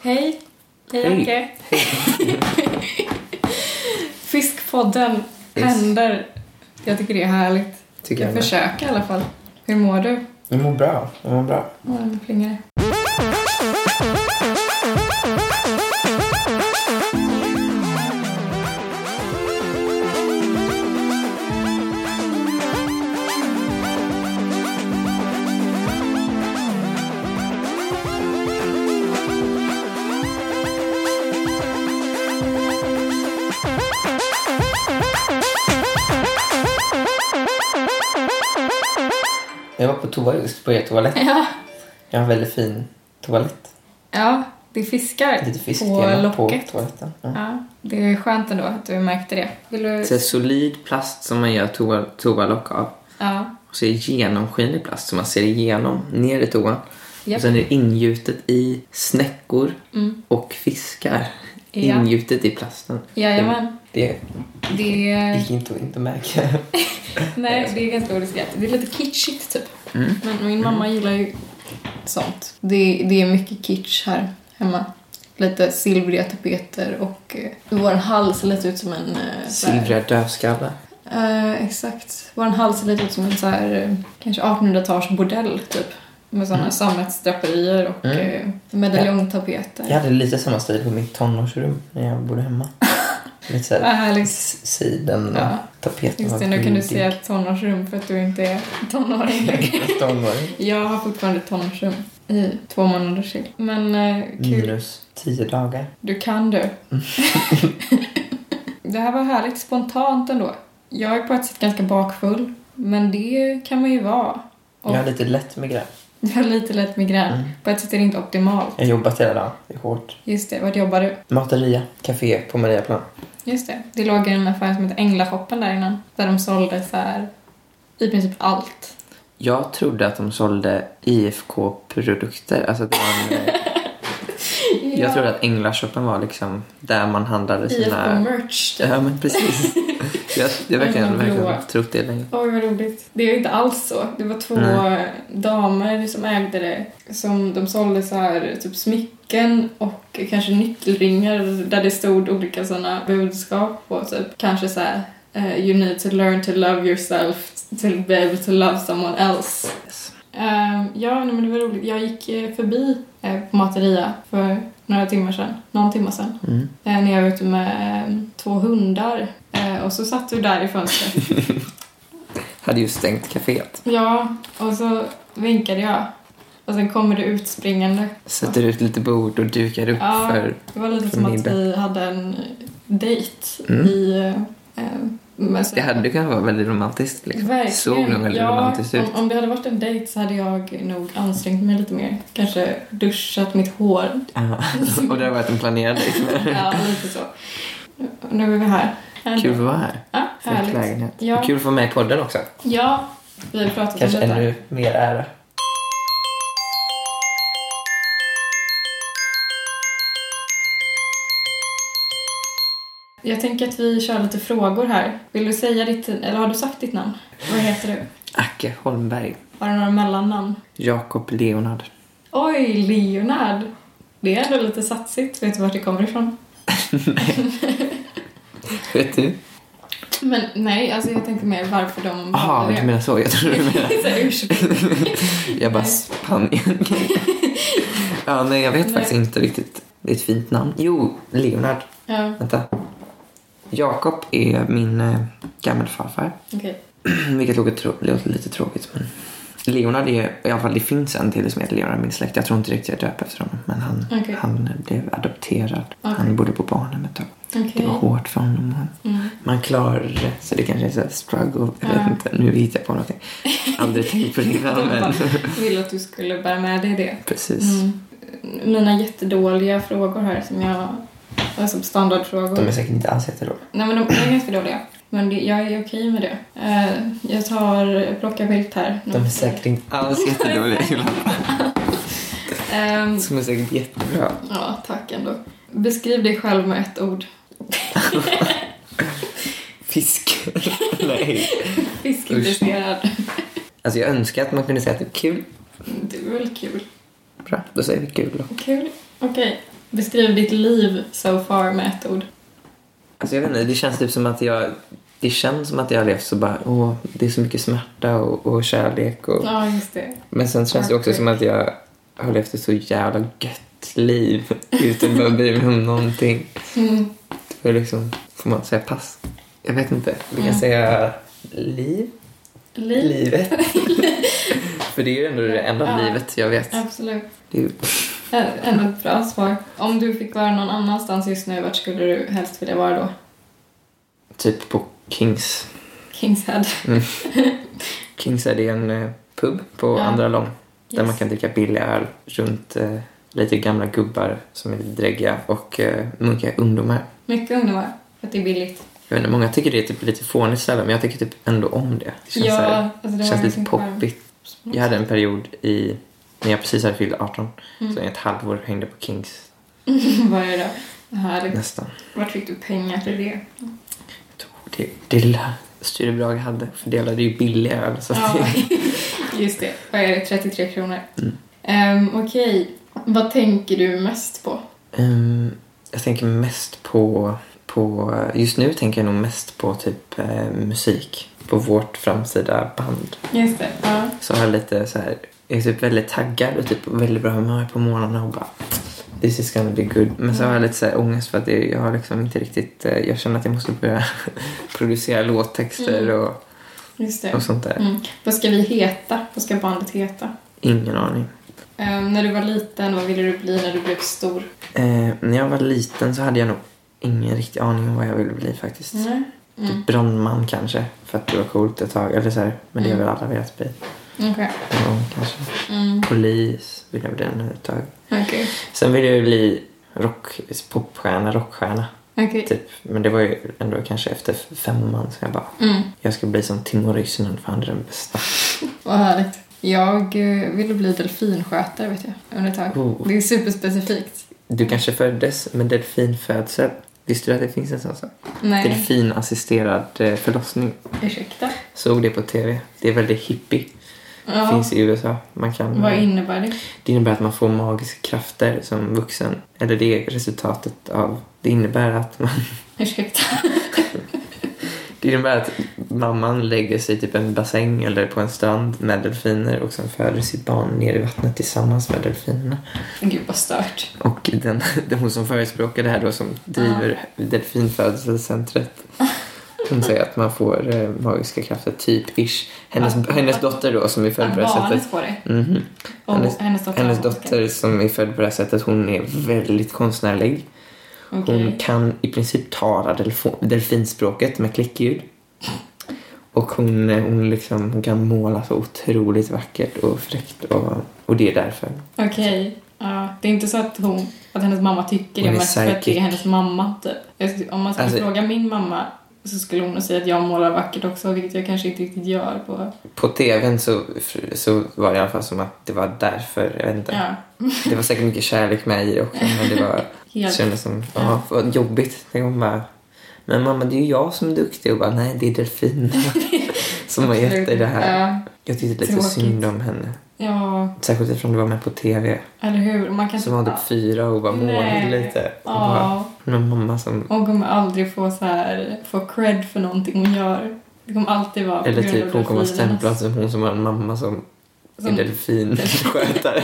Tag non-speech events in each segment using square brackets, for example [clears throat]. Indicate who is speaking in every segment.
Speaker 1: Hej. Hej,
Speaker 2: Hej.
Speaker 1: Anke. [laughs] Fiskpodden
Speaker 2: Yes.
Speaker 1: händer. Jag tycker det är härligt.
Speaker 2: Tycker
Speaker 1: Jag
Speaker 2: jag med.
Speaker 1: försöker i alla fall. Hur mår du?
Speaker 3: Jag mår bra. Jag mår bra.
Speaker 1: Åh, nu plingar det.
Speaker 2: Jag var på toa just, på er toalett.
Speaker 1: [laughs] Ja.
Speaker 2: Jag har en väldigt fin toalett.
Speaker 1: ja, det är fiskar
Speaker 2: Lite
Speaker 1: på
Speaker 2: fisktema på,
Speaker 1: locket.
Speaker 2: toaletten. Ja.
Speaker 1: Ja, det är skönt ändå att du märkte det. Vill du?
Speaker 2: Så här solid plast som man gör toa, toalock av.
Speaker 1: Ja.
Speaker 2: Och så är det genomskinlig plast som man ser igenom ner i toan.
Speaker 1: Japp.
Speaker 2: Och sen är det ingjutet i snäckor
Speaker 1: Mm.
Speaker 2: och fiskar.
Speaker 1: Ja.
Speaker 2: Ingjutet i plasten.
Speaker 1: Jajamän.
Speaker 2: Det
Speaker 1: Det är,
Speaker 2: gick inte att inte märka.
Speaker 1: nej, det är ganska oriskerat. Det är lite kitschigt typ.
Speaker 2: Mm.
Speaker 1: Men min mamma gillar ju sånt. Det, det är mycket kitsch här hemma. Lite silvriga tapeter och eh, vår hals ser lite ut som en... eh, så här-
Speaker 2: Silvriga dövskallar.
Speaker 1: Eh, exakt. Vår hals ser lite ut som en så här, eh, kanske 1800-tals bordell typ. Med sådana sammetsdraperier och
Speaker 2: Mm.
Speaker 1: eh, medaljongtapeter.
Speaker 2: Jag hade lite samma stil på mitt tonårsrum när jag bodde hemma. [laughs] Lite så
Speaker 1: Vad
Speaker 2: här
Speaker 1: härligt.
Speaker 2: s- siden
Speaker 1: Ja.
Speaker 2: och tapeten
Speaker 1: Just
Speaker 2: var
Speaker 1: det, nu kan du
Speaker 2: guldig.
Speaker 1: säga tonårsrum för att du inte är tonåring.
Speaker 2: [laughs] Tonåring.
Speaker 1: Jag har fortfarande tonårsrum i två månader till. Men eh, [laughs] kul.
Speaker 2: Minus tio dagar.
Speaker 1: Du kan du. det här var härligt spontant ändå. Jag är på ett sätt ganska bakfull, men det kan man ju vara. Och
Speaker 2: Jag har lite lätt migrän.
Speaker 1: jag har lite lätt migrän. På ett sätt är det inte optimalt.
Speaker 2: Jag har jobbat hela dagen. Det är hårt.
Speaker 1: Just det, vart jobbar du?
Speaker 2: Materia, café på Mariaplan.
Speaker 1: Just det, det låg en affär som hette Änglashoppen där innan. Där de sålde så här, i princip allt.
Speaker 2: Jag trodde att de sålde IFK-produkter. Alltså det var
Speaker 1: [laughs]
Speaker 2: en, eh, Jag trodde att Änglashoppen var liksom där man handlade sina...
Speaker 1: IFK-merch typ.
Speaker 2: Ja, men
Speaker 1: [laughs]
Speaker 2: precis. jag
Speaker 1: Den
Speaker 2: jag verkligen,
Speaker 1: blåa.
Speaker 2: verkligen trott det länge.
Speaker 1: Oj, vad roligt. Det är ju inte alls så. Det var två
Speaker 2: Nej.
Speaker 1: damer som ägde det. Som de sålde så här, typ smycken och kanske nyckelringar där det stod olika sådana budskap på. Typ kanske så här, eh, you need to learn to love yourself to be able to love someone else.
Speaker 2: Yes.
Speaker 1: Ehm, ja, nej, men det var roligt. Jag gick eh, förbi eh, på Materia för några timmar sedan. Någon timme sedan.
Speaker 2: Mm.
Speaker 1: Eh, när jag var ute med eh, två hundar. Eh, och så satt du där i fönstret.
Speaker 2: Hade ju stängt kaféet.
Speaker 1: Ja, och så vinkade jag. Och sen kommer det utspringande.
Speaker 2: Sätter ut lite bord och dukar upp
Speaker 1: Ja.
Speaker 2: för...
Speaker 1: Det var lite
Speaker 2: För
Speaker 1: som att
Speaker 2: middag.
Speaker 1: vi hade en dejt
Speaker 2: Mm.
Speaker 1: i... Eh, men så-
Speaker 2: Det hade kunnat vara väldigt romantiskt. Liksom.
Speaker 1: Verkligen.
Speaker 2: Såg nog väldigt
Speaker 1: ja,
Speaker 2: romantiskt ut.
Speaker 1: Om, om det hade varit en dejt så hade jag nog ansträngt mig lite mer. Kanske duschat mitt
Speaker 2: [laughs]
Speaker 1: hår.
Speaker 2: Ja. och det har varit en planerad liksom.
Speaker 1: [laughs]
Speaker 2: dejt.
Speaker 1: ja, lite så. Nu är vi här.
Speaker 2: Kul att vara här.
Speaker 1: Ja,
Speaker 2: Fräck
Speaker 1: härligt.
Speaker 2: lägenhet.
Speaker 1: Ja.
Speaker 2: Och Kul att få med i podden också.
Speaker 1: Ja, vi har pratat
Speaker 2: Kanske
Speaker 1: om detta.
Speaker 2: ännu mer ära.
Speaker 1: Jag tänker att vi kör lite frågor här. Vill du säga ditt... Eller har du sagt ditt namn? Vad heter du?
Speaker 2: Acke Holmberg.
Speaker 1: Har du några mellannamn? [laughs]
Speaker 2: Jakob Leonard.
Speaker 1: Oj, Leonard! Det är ändå lite satsigt. Vet du vart det kommer ifrån?
Speaker 2: Vet du?
Speaker 1: Men nej, alltså jag tänkte mer varför de...
Speaker 2: Jaha,
Speaker 1: valde
Speaker 2: du menar så. Jag tror
Speaker 1: [laughs]
Speaker 2: du menar...
Speaker 1: Så här, ursäkta.
Speaker 2: Jag bara
Speaker 1: Nej. [laughs]
Speaker 2: Spanien. ja, nej, jag vet
Speaker 1: Nej.
Speaker 2: faktiskt inte riktigt. Det är ett fint namn. Jo, Leonard.
Speaker 1: Ja,
Speaker 2: Vänta. Jakob är min eh, gammelfarfar.
Speaker 1: okej.
Speaker 2: [clears throat] Vilket låter, trå- låter lite tråkigt. Men... Leonard är, i alla fall det finns en till som heter Leonard i min släkt. Jag tror inte riktigt jag döper efter honom. Men han,
Speaker 1: Mm, Okej.
Speaker 2: han blev adopterad.
Speaker 1: Okej.
Speaker 2: Han bodde på barnhem ett tag. Det
Speaker 1: Okej.
Speaker 2: var hårt för honom. Han-
Speaker 1: Mm.
Speaker 2: Man klarar det. Så det kanske är så här struggle. Jag vet
Speaker 1: Ja.
Speaker 2: inte. Nu hittar jag på någonting.
Speaker 1: [laughs]
Speaker 2: Aldrig tänkt på det innan. Men... [laughs]
Speaker 1: Jag ville att du skulle bära med dig det.
Speaker 2: Precis.
Speaker 1: Mm. Mina jättedåliga frågor här som jag... Alltså standardfrågor.
Speaker 2: De är säkert inte alls jättedåliga.
Speaker 1: Nej men de är ganska dåliga. Men det, jag är okej med det. Eh, jag tar plocka vilt här.
Speaker 2: De är säkert inte
Speaker 1: [laughs]
Speaker 2: alls jättedåliga.
Speaker 1: Mm. Ehm,
Speaker 2: De är säkert jättebra.
Speaker 1: ja, tack ändå. Beskriv dig själv med ett ord.
Speaker 2: Fisk. [laughs] Nej.
Speaker 1: Fiskintresserad.
Speaker 2: Alltså jag önskar att man kunde säga att det är kul.
Speaker 1: Det är väl kul.
Speaker 2: Bra, då säger vi kul då.
Speaker 1: Kul. Okej. Beskriv ditt liv so far med ett ord.
Speaker 2: Alltså jag vet inte, det känns typ som att jag... Det känns som att jag har levt så bara, åh, det är så mycket smärta och, och kärlek och...
Speaker 1: Ja, just det.
Speaker 2: Men sen känns det också som att jag har levt ett så jävla gött liv utan att behöva bry mig om någonting.
Speaker 1: Mm.
Speaker 2: För liksom, får man säga pass? Jag vet inte. Vi kan
Speaker 1: Mm.
Speaker 2: säga liv?
Speaker 1: Liv.
Speaker 2: Livet? För det är ju ändå det enda
Speaker 1: Ja.
Speaker 2: livet jag
Speaker 1: [laughs]
Speaker 2: vet.
Speaker 1: Absolut.
Speaker 2: Det är ju...
Speaker 1: Ä- Ändå ett bra svar. Om du fick vara någon annanstans just nu, vart skulle du helst vilja vara då?
Speaker 2: Typ på Kings.
Speaker 1: Kings Head.
Speaker 2: Kings är det en eh, pub på
Speaker 1: Ja.
Speaker 2: Andra Lång. Där
Speaker 1: Yes.
Speaker 2: man kan dricka billig öl runt eh, lite gamla gubbar som är lite dräggiga och eh, munkiga ungdomar.
Speaker 1: Mycket ungdomar, för att det är billigt.
Speaker 2: Jag vet inte, många tycker det är typ lite fånigt ställe men jag tycker typ ändå om det. Det känns,
Speaker 1: ja,
Speaker 2: så här,
Speaker 1: alltså det
Speaker 2: det
Speaker 1: var
Speaker 2: känns lite
Speaker 1: liksom bara-
Speaker 2: poppigt. Jag hade en period i, när jag precis hade fyllt 18,
Speaker 1: Mm.
Speaker 2: så i ett halvår hängde på Kings
Speaker 1: [laughs] Varje dag. Härligt.
Speaker 2: nästan.
Speaker 1: Vart fick du pengar till det?
Speaker 2: Jag tog det, det lilla styrebidrag jag hade fördelade ju billig öl. Så att
Speaker 1: Ja, [laughs]
Speaker 2: det, Mm.
Speaker 1: just det. Vad är det? 33 kronor. Ehm, Okej. Vad tänker du mest på?
Speaker 2: Ehm, jag tänker mest på, på... Just nu tänker jag nog mest på typ eh, musik. På vårt framtida band.
Speaker 1: Just det. Ja.
Speaker 2: Så har jag lite så här... Jag är typ väldigt taggad och typ väldigt bra humör på morgonen och bara... This is gonna be good. Men så har jag lite så här ångest för att det, jag har liksom inte riktigt... eh, Jag känner att jag måste börja [laughs] producera låttexter
Speaker 1: Mm.
Speaker 2: och,
Speaker 1: Just det.
Speaker 2: och sånt där.
Speaker 1: Mm. Vad ska vi heta? Vad ska bandet heta?
Speaker 2: Ingen aning.
Speaker 1: Ehm, när du var liten, vad ville du bli när du blev stor?
Speaker 2: Eh, när jag var liten så hade jag nog ingen riktig aning om vad jag ville bli faktiskt.
Speaker 1: Nej. Mm.
Speaker 2: Typ brandman kanske, för att det var coolt ett tag. Eller så här, men
Speaker 1: Mm.
Speaker 2: det har väl alla velat bli.
Speaker 1: Okej.
Speaker 2: Någon gång kanske.
Speaker 1: Mm.
Speaker 2: Polis vill jag bli nu ett tag.
Speaker 1: Okej.
Speaker 2: Sen ville jag ju bli rock, popstjärna, rockstjärna.
Speaker 1: Okej.
Speaker 2: Typ. Men det var ju ändå kanske efter femman så jag bara,
Speaker 1: Mm.
Speaker 2: jag ska bli som Timo Ryssinen för han är den bästa.
Speaker 1: Vad härligt. Jag eh, ville bli delfinskötare vet jag, under ett tag.
Speaker 2: Oh.
Speaker 1: Det är superspecifikt.
Speaker 2: Du kanske föddes med delfinfödsel? Visste du att det finns en sån sak?
Speaker 1: Nej,
Speaker 2: Delfinassisterad eh, förlossning.
Speaker 1: ursäkta.
Speaker 2: Såg det på TV. Det är väldigt hippie.
Speaker 1: Ja.
Speaker 2: Finns i USA. Man kan... eh,
Speaker 1: Vad innebär det?
Speaker 2: Det innebär att man får magiska krafter som vuxen. Eller det är resultatet av... Det innebär att, man,
Speaker 1: Ursäkta. [laughs]
Speaker 2: det innebär att mamman lägger sig i typ en bassäng eller på en strand med delfiner och sen föder sitt barn ner i vattnet tillsammans med delfinerna.
Speaker 1: Gud vad stört.
Speaker 2: Och den, den hon som förespråkar det här då som driver delfinfödelsetcentret hon säger att man får eh, magiska krafter, typ-ish. Hennes,
Speaker 1: Att-
Speaker 2: hennes
Speaker 1: att-
Speaker 2: dotter då som är född
Speaker 1: Att
Speaker 2: på det här
Speaker 1: barnet
Speaker 2: sättet.
Speaker 1: får det.
Speaker 2: Mhm.
Speaker 1: Och hennes,
Speaker 2: Hennes-
Speaker 1: dotter.
Speaker 2: Hennes dotter som är född på det här sättet, hon är väldigt konstnärlig.
Speaker 1: Okej.
Speaker 2: Hon
Speaker 1: Okej.
Speaker 2: kan i princip tala delfo- delfinspråket med klickljud. Och hon, eh, hon, liksom, hon kan måla så otroligt vackert och fräckt och, och det är därför.
Speaker 1: Ja, det är inte så att, hon, att hennes mamma tycker det
Speaker 2: Hon är
Speaker 1: mest för att det
Speaker 2: psychic.
Speaker 1: är hennes mamma. Typ. Jag skulle- Om man skulle
Speaker 2: Alltså-
Speaker 1: fråga min mamma så skulle hon nog säga att jag målar vackert också, vilket jag kanske inte riktigt gör på...
Speaker 2: På tvn så, så var det i alla fall som att det var därför, jag vet inte.
Speaker 1: Ja,
Speaker 2: Det var säkert mycket kärlek med i det också men det
Speaker 1: [laughs]
Speaker 2: var,
Speaker 1: helt.
Speaker 2: kändes som, ja, vad jobbigt. Tänk om bara, men mamma det är ju jag som är duktig och bara nej det
Speaker 1: [laughs]
Speaker 2: är delfinerna som har gett dig det här.
Speaker 1: Ja.
Speaker 2: Jag tyckte lite
Speaker 1: Tråkigt.
Speaker 2: synd om henne.
Speaker 1: ja,
Speaker 2: Särskilt eftersom du var med på tv.
Speaker 1: eller hur? Man kan
Speaker 2: Som var
Speaker 1: inte-
Speaker 2: typ fyra och bara målade
Speaker 1: Nej.
Speaker 2: lite. Och bara,
Speaker 1: Ja,
Speaker 2: men mamma som...
Speaker 1: hon kommer aldrig få så här, få cred för någonting hon gör. Det kommer alltid vara på
Speaker 2: Eller
Speaker 1: grund
Speaker 2: typ
Speaker 1: av
Speaker 2: hon kommer
Speaker 1: delfinernas-
Speaker 2: stämplas som hon som har en mamma som,
Speaker 1: som
Speaker 2: är
Speaker 1: [laughs]
Speaker 2: delfinskötare.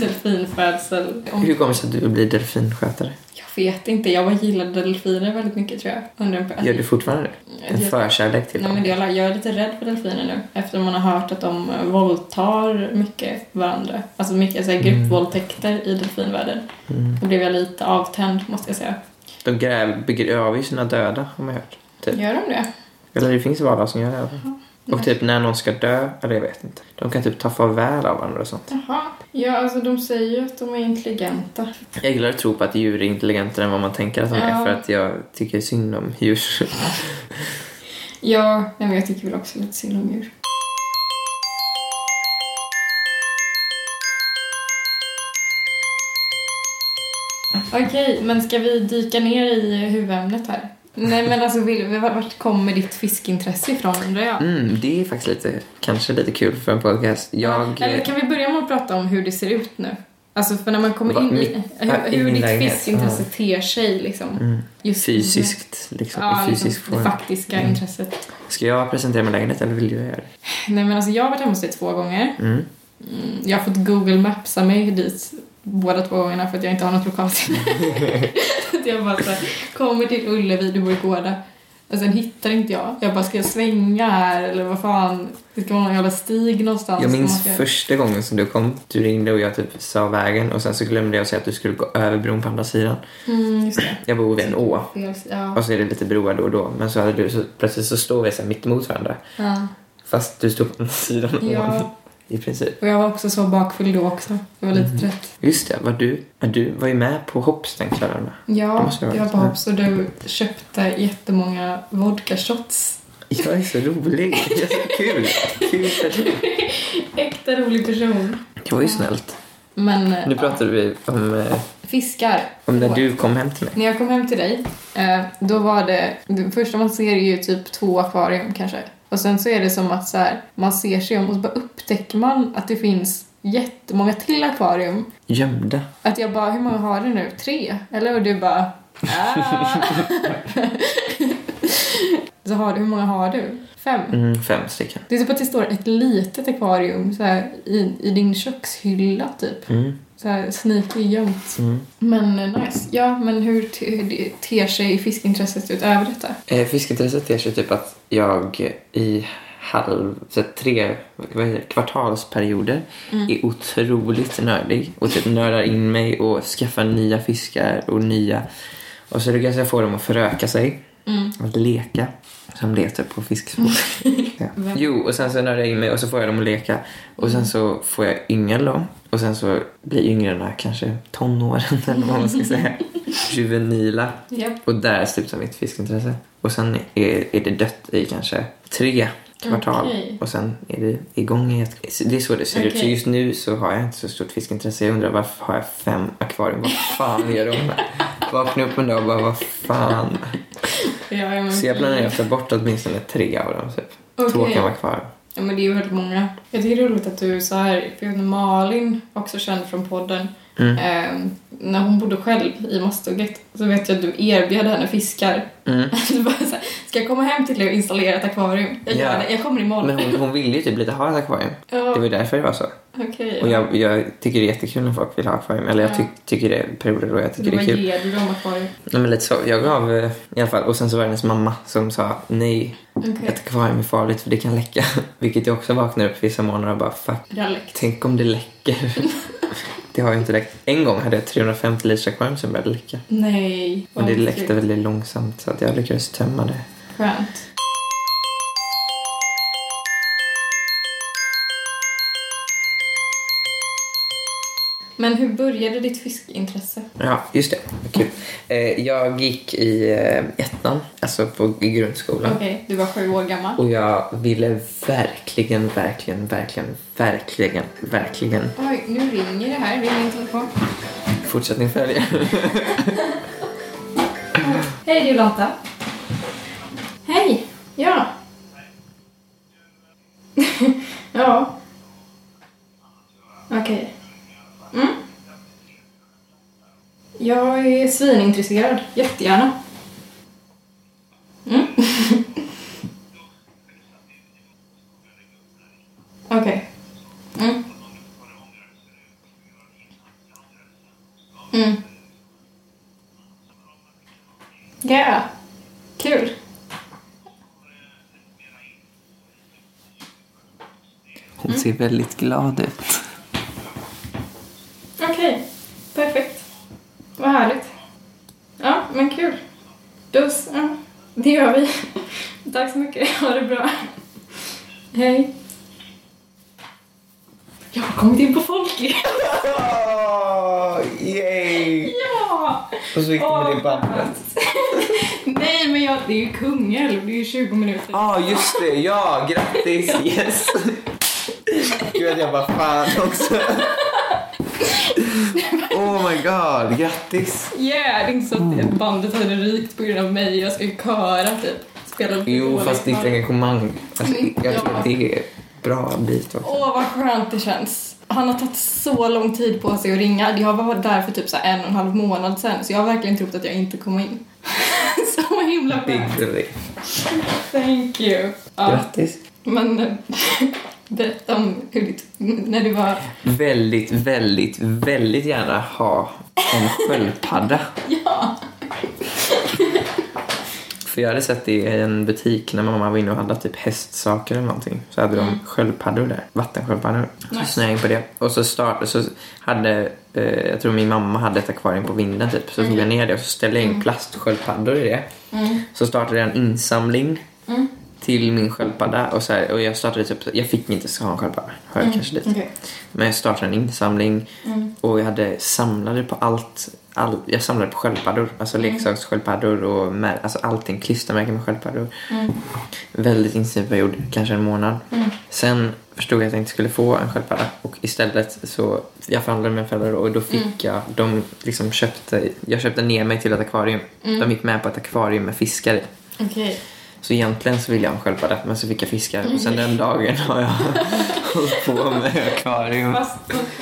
Speaker 1: delfinfödsel. Om-
Speaker 2: Hur kommer det sig att du vill bli delfinskötare?
Speaker 1: Jag vet inte, jag bara gillade delfiner väldigt mycket tror jag. Under en period.
Speaker 2: Gör du fortfarande det?
Speaker 1: Jag-
Speaker 2: En förkärlek till
Speaker 1: Nej, men
Speaker 2: dem?
Speaker 1: det jag, jag är lite rädd för delfiner nu eftersom man har hört att de eh, våldtar mycket varandra. Alltså mycket så här,
Speaker 2: Mm.
Speaker 1: gruppvåldtäkter i delfinvärlden.
Speaker 2: Mm.
Speaker 1: Då blev jag lite avtänd måste jag säga.
Speaker 2: De gräv, begraver ju sina döda har man hört. Typ.
Speaker 1: Gör de det?
Speaker 2: Eller det finns vardag som gör det.
Speaker 1: Nej.
Speaker 2: Och typ när någon ska dö, eller jag vet inte. De kan typ ta farväl av varandra och sånt.
Speaker 1: Jaha. Ja, alltså de säger ju att de är intelligenta.
Speaker 2: Jag gillar att tro på att djur är intelligentare än vad man tänker att de
Speaker 1: Ja.
Speaker 2: är för att jag tycker synd om djur. [laughs]
Speaker 1: Ja, nej, men jag tycker väl också lite synd om djur. Okej, men ska vi dyka ner i huvudämnet här? Nej men alltså, vill, vart kommer ditt fiskintresse ifrån undrar jag?
Speaker 2: Mm, det är faktiskt lite, kanske lite kul för en podcast. Jag,
Speaker 1: Eller kan vi börja med att prata om hur det ser ut nu? Alltså för när man kommer
Speaker 2: Va-
Speaker 1: in i
Speaker 2: mitt- ja,
Speaker 1: hur,
Speaker 2: in
Speaker 1: hur
Speaker 2: i
Speaker 1: ditt
Speaker 2: lägenhet,
Speaker 1: fiskintresse
Speaker 2: ja.
Speaker 1: ter sig liksom.
Speaker 2: Mm.
Speaker 1: Just
Speaker 2: Fysiskt, liksom.
Speaker 1: Ja,
Speaker 2: I fysisk
Speaker 1: liksom, det
Speaker 2: form.
Speaker 1: faktiska
Speaker 2: Mm.
Speaker 1: intresset.
Speaker 2: Ska jag presentera min lägenhet eller vill du göra det?
Speaker 1: Nej men alltså jag har varit hemma hos dig två gånger.
Speaker 2: Mm.
Speaker 1: Mm, Jag har fått Google Mapsa mig dit båda två gångerna för att jag inte har något
Speaker 2: [laughs]
Speaker 1: lokalsinne. Så att jag bara så här, kommer till Ullevi, du bor i Gårda. Och sen hittar inte jag. Jag bara, ska jag svänga här eller vad fan? Det ska vara någon jävla stig någonstans.
Speaker 2: Jag
Speaker 1: som
Speaker 2: minns
Speaker 1: man ska-
Speaker 2: första gången som du kom. Du ringde och jag typ sa vägen och sen så glömde jag säga att du skulle gå över bron på andra sidan.
Speaker 1: Mm, just det.
Speaker 2: Jag bor vid en å.
Speaker 1: Fel, ja.
Speaker 2: Och så är det lite broar då och då. Men så hade du så, plötsligt så står vi så här mitt emot varandra.
Speaker 1: ja.
Speaker 2: Fast du står på andra sidan av ån.
Speaker 1: Ja,
Speaker 2: I princip.
Speaker 1: och jag var också så bakfull då också. Jag var lite
Speaker 2: Mhm.
Speaker 1: trött.
Speaker 2: Just det, var du, ja, du var ju med på Hopps den kvällen va? Det
Speaker 1: Ja,
Speaker 2: måste jag ha
Speaker 1: jag var
Speaker 2: varit.
Speaker 1: på Hopps och du köpte jättemånga vodka-shots.
Speaker 2: Jag är så rolig. Jag är så kul. kul för dig.
Speaker 1: Äkta rolig person.
Speaker 2: Det var ju snällt.
Speaker 1: Men eh,
Speaker 2: Nu pratade vi om, eh,
Speaker 1: fiskar.
Speaker 2: om när du kom hem till mig.
Speaker 1: När jag kom hem till dig, eh, då var det... Det första man ser är ju typ två akvarium kanske. Och sen så är det som att så här, man ser sig om och så bara upptäcker man att det finns jättemånga till akvarium.
Speaker 2: Gömda.
Speaker 1: Att jag bara, hur många har du nu? Tre? Eller? Och du bara, "Ah." [laughs] Så har du, hur många har du? Fem?
Speaker 2: Mm, fem stycken.
Speaker 1: Det är typ att det står ett litet akvarium så här, i, i din kökshylla typ.
Speaker 2: Mm,
Speaker 1: Så här sneaky gömt.
Speaker 2: mm.
Speaker 1: Men eh, nice. Ja, men hur te- hur det ter sig fiskintresset utöver detta?
Speaker 2: Eh, Fiskintresset är sig typ att jag i halv, så här tre vad heter det, kvartalsperioder är otroligt nördig och typ nördar in mig och skaffar nya fiskar och nya och så lyckas jag få dem att föröka sig,
Speaker 1: Mm.
Speaker 2: att leka som letar på fiskspår. ja.
Speaker 1: Vem?
Speaker 2: Jo, och sen så nördar jag in mig och så får jag dem att leka och sen så får jag yngel dem och sen så blir yngrarna kanske tonåren [laughs] eller vad man ska säga. Juvenila.
Speaker 1: Japp.
Speaker 2: Och där slutar mitt fiskintresse. Och sen är, är det dött i kanske tre kvartal.
Speaker 1: Okej.
Speaker 2: Och sen är det igång i ett... Det är så det ser ut. Så
Speaker 1: Okej.
Speaker 2: just nu så har jag inte så stort fiskintresse. Jag undrar varför har jag fem akvarium? Vad fan gör de här? Vakna upp en dag och bara vad fan.
Speaker 1: Ja, ja, men-
Speaker 2: Så jag planerar att ta bort åtminstone tre av dem typ. Två
Speaker 1: Okej.
Speaker 2: kan vara kvar.
Speaker 1: Ja, men det är ju väldigt många. Jag tycker det är roligt att du är så här, för jag vet, Malin, också känd från podden,
Speaker 2: Mm.
Speaker 1: eh, när hon bodde själv i Mastugget så vet jag att du erbjöd henne fiskar. [laughs]
Speaker 2: Mm.
Speaker 1: Du bara så här, ska jag komma hem till er och installera ett akvarium? Jag gör
Speaker 2: Ja.
Speaker 1: det, jag kommer imorgon.
Speaker 2: Men hon, hon ville ju typ lite ha ett akvarium.
Speaker 1: Ja,
Speaker 2: Det var ju därför det var så.
Speaker 1: okej.
Speaker 2: Och jag, jag tycker det är jättekul när folk vill ha akvarium. Eller jag ty- tycker det är perioder då jag
Speaker 1: Så
Speaker 2: tycker
Speaker 1: du
Speaker 2: det
Speaker 1: bara
Speaker 2: är kul.
Speaker 1: ger du dem akvarium?
Speaker 2: Nej, men lite så. Jag gav eh, i alla fall. Och sen så var det hennes mamma som sa nej,
Speaker 1: Okej.
Speaker 2: ett akvarium är farligt för det kan läcka. [laughs] Vilket jag också vaknar upp vissa morgnar och bara fuck,
Speaker 1: Dialekt.
Speaker 2: tänk om det läcker. [laughs] det har ju inte läckt. En gång hade jag ett 350 liters akvarium som började läcka.
Speaker 1: Nej.
Speaker 2: Men det
Speaker 1: vad
Speaker 2: läckte
Speaker 1: kul.
Speaker 2: väldigt långsamt så att jag lyckades tömma det.
Speaker 1: Skönt. Men hur började ditt fiskintresse?
Speaker 2: Ja, just det. Vad Kul. Eh, jag gick i eh, ettan, alltså på, i grundskolan.
Speaker 1: Okej, du var sju år gammal.
Speaker 2: Och jag ville verkligen, verkligen, verkligen, verkligen, verkligen
Speaker 1: Oj, nu ringer det här. Ring min telefon.
Speaker 2: fortsättning följa.
Speaker 1: Hej, det är Jolanta. Hej! Ja. [laughs] ja. Okej. Mm. Jag är svinintresserad. Jättegärna. Mm. [laughs] Okej. Mm. Mm. Ja, kul.
Speaker 2: Hon ser väldigt glad ut.
Speaker 1: Okej, perfekt. Vad härligt. Ja, men kul. Då, s- ja, det gör vi. [laughs] Tack så mycket, ha det bra. Hej. Jag har kommit in på Folklig.
Speaker 2: yay!
Speaker 1: [laughs] Ja!
Speaker 2: Och så gick det med
Speaker 1: Åh,
Speaker 2: det bandet.
Speaker 1: [laughs] Nej, men jag, det är ju Kungälv, det är ju 20 minuter.
Speaker 2: Ja, ah, just det. Ja, grattis. Yes. Gud, jag bara fan också. Oh my god, grattis.
Speaker 1: Yeah, det är inte så att
Speaker 2: Mm.
Speaker 1: det bandet hade rykt på grund av mig, jag ska ju köra typ. Spela lite
Speaker 2: Jo,
Speaker 1: dåligt.
Speaker 2: fast ditt engagemang. Alltså, jag tror
Speaker 1: Ja.
Speaker 2: att det är bra bit också.
Speaker 1: Åh, vad skönt det känns. han har tagit så lång tid på sig att ringa. Jag var där för typ så här en och en halv månad sedan så jag har verkligen trott att jag inte kom in. [laughs] så himla
Speaker 2: Big
Speaker 1: skönt.
Speaker 2: three.
Speaker 1: Thank you. Ja,
Speaker 2: Grattis.
Speaker 1: men eh, [laughs] berätta om hur ditt, när du var...
Speaker 2: Väldigt, väldigt, väldigt gärna ha en sköldpadda.
Speaker 1: [laughs] Ja!
Speaker 2: För jag hade sett det i en butik när mamma var inne och handlade typ hästsaker eller någonting. Så hade de sköldpaddor där, vattensköldpaddor. Så
Speaker 1: Mm. Nice.
Speaker 2: snöade jag in på det. Och så startade, så hade, eh, jag tror min mamma hade ett akvarium på vinden typ. Så tog jag ner det och så ställde jag in plastsköldpaddor i det.
Speaker 1: Mm.
Speaker 2: Så startade jag en insamling
Speaker 1: Mm.
Speaker 2: till min sköldpadda. Och, så här, och jag startade typ, jag fick inte ha en sköldpadda. Hör
Speaker 1: Mm.
Speaker 2: kanske lite.
Speaker 1: Okej.
Speaker 2: Men jag startade en insamling
Speaker 1: Mm.
Speaker 2: och jag hade samlade på allt. All, jag samlade på sköldpaddor, alltså
Speaker 1: Mm.
Speaker 2: leksakssköldpaddor och mär, alltså allting, klistermärken med sköldpaddor.
Speaker 1: Mm.
Speaker 2: Väldigt intensiv period, kanske en månad.
Speaker 1: Mm.
Speaker 2: Sen förstod jag att jag inte skulle få en sköldpadda och istället så, jag förhandlade med föräldrar och
Speaker 1: Mm.
Speaker 2: då fick jag, de liksom köpte, jag köpte ner mig till ett akvarium.
Speaker 1: Mm.
Speaker 2: De gick med på ett akvarium med fiskar i.
Speaker 1: Okej.
Speaker 2: Så egentligen så ville jag ha en sköldpadda men så fick jag fiskar och
Speaker 1: Mm.
Speaker 2: sen den dagen har jag [laughs] hållit på med akvarium.
Speaker 1: Fast,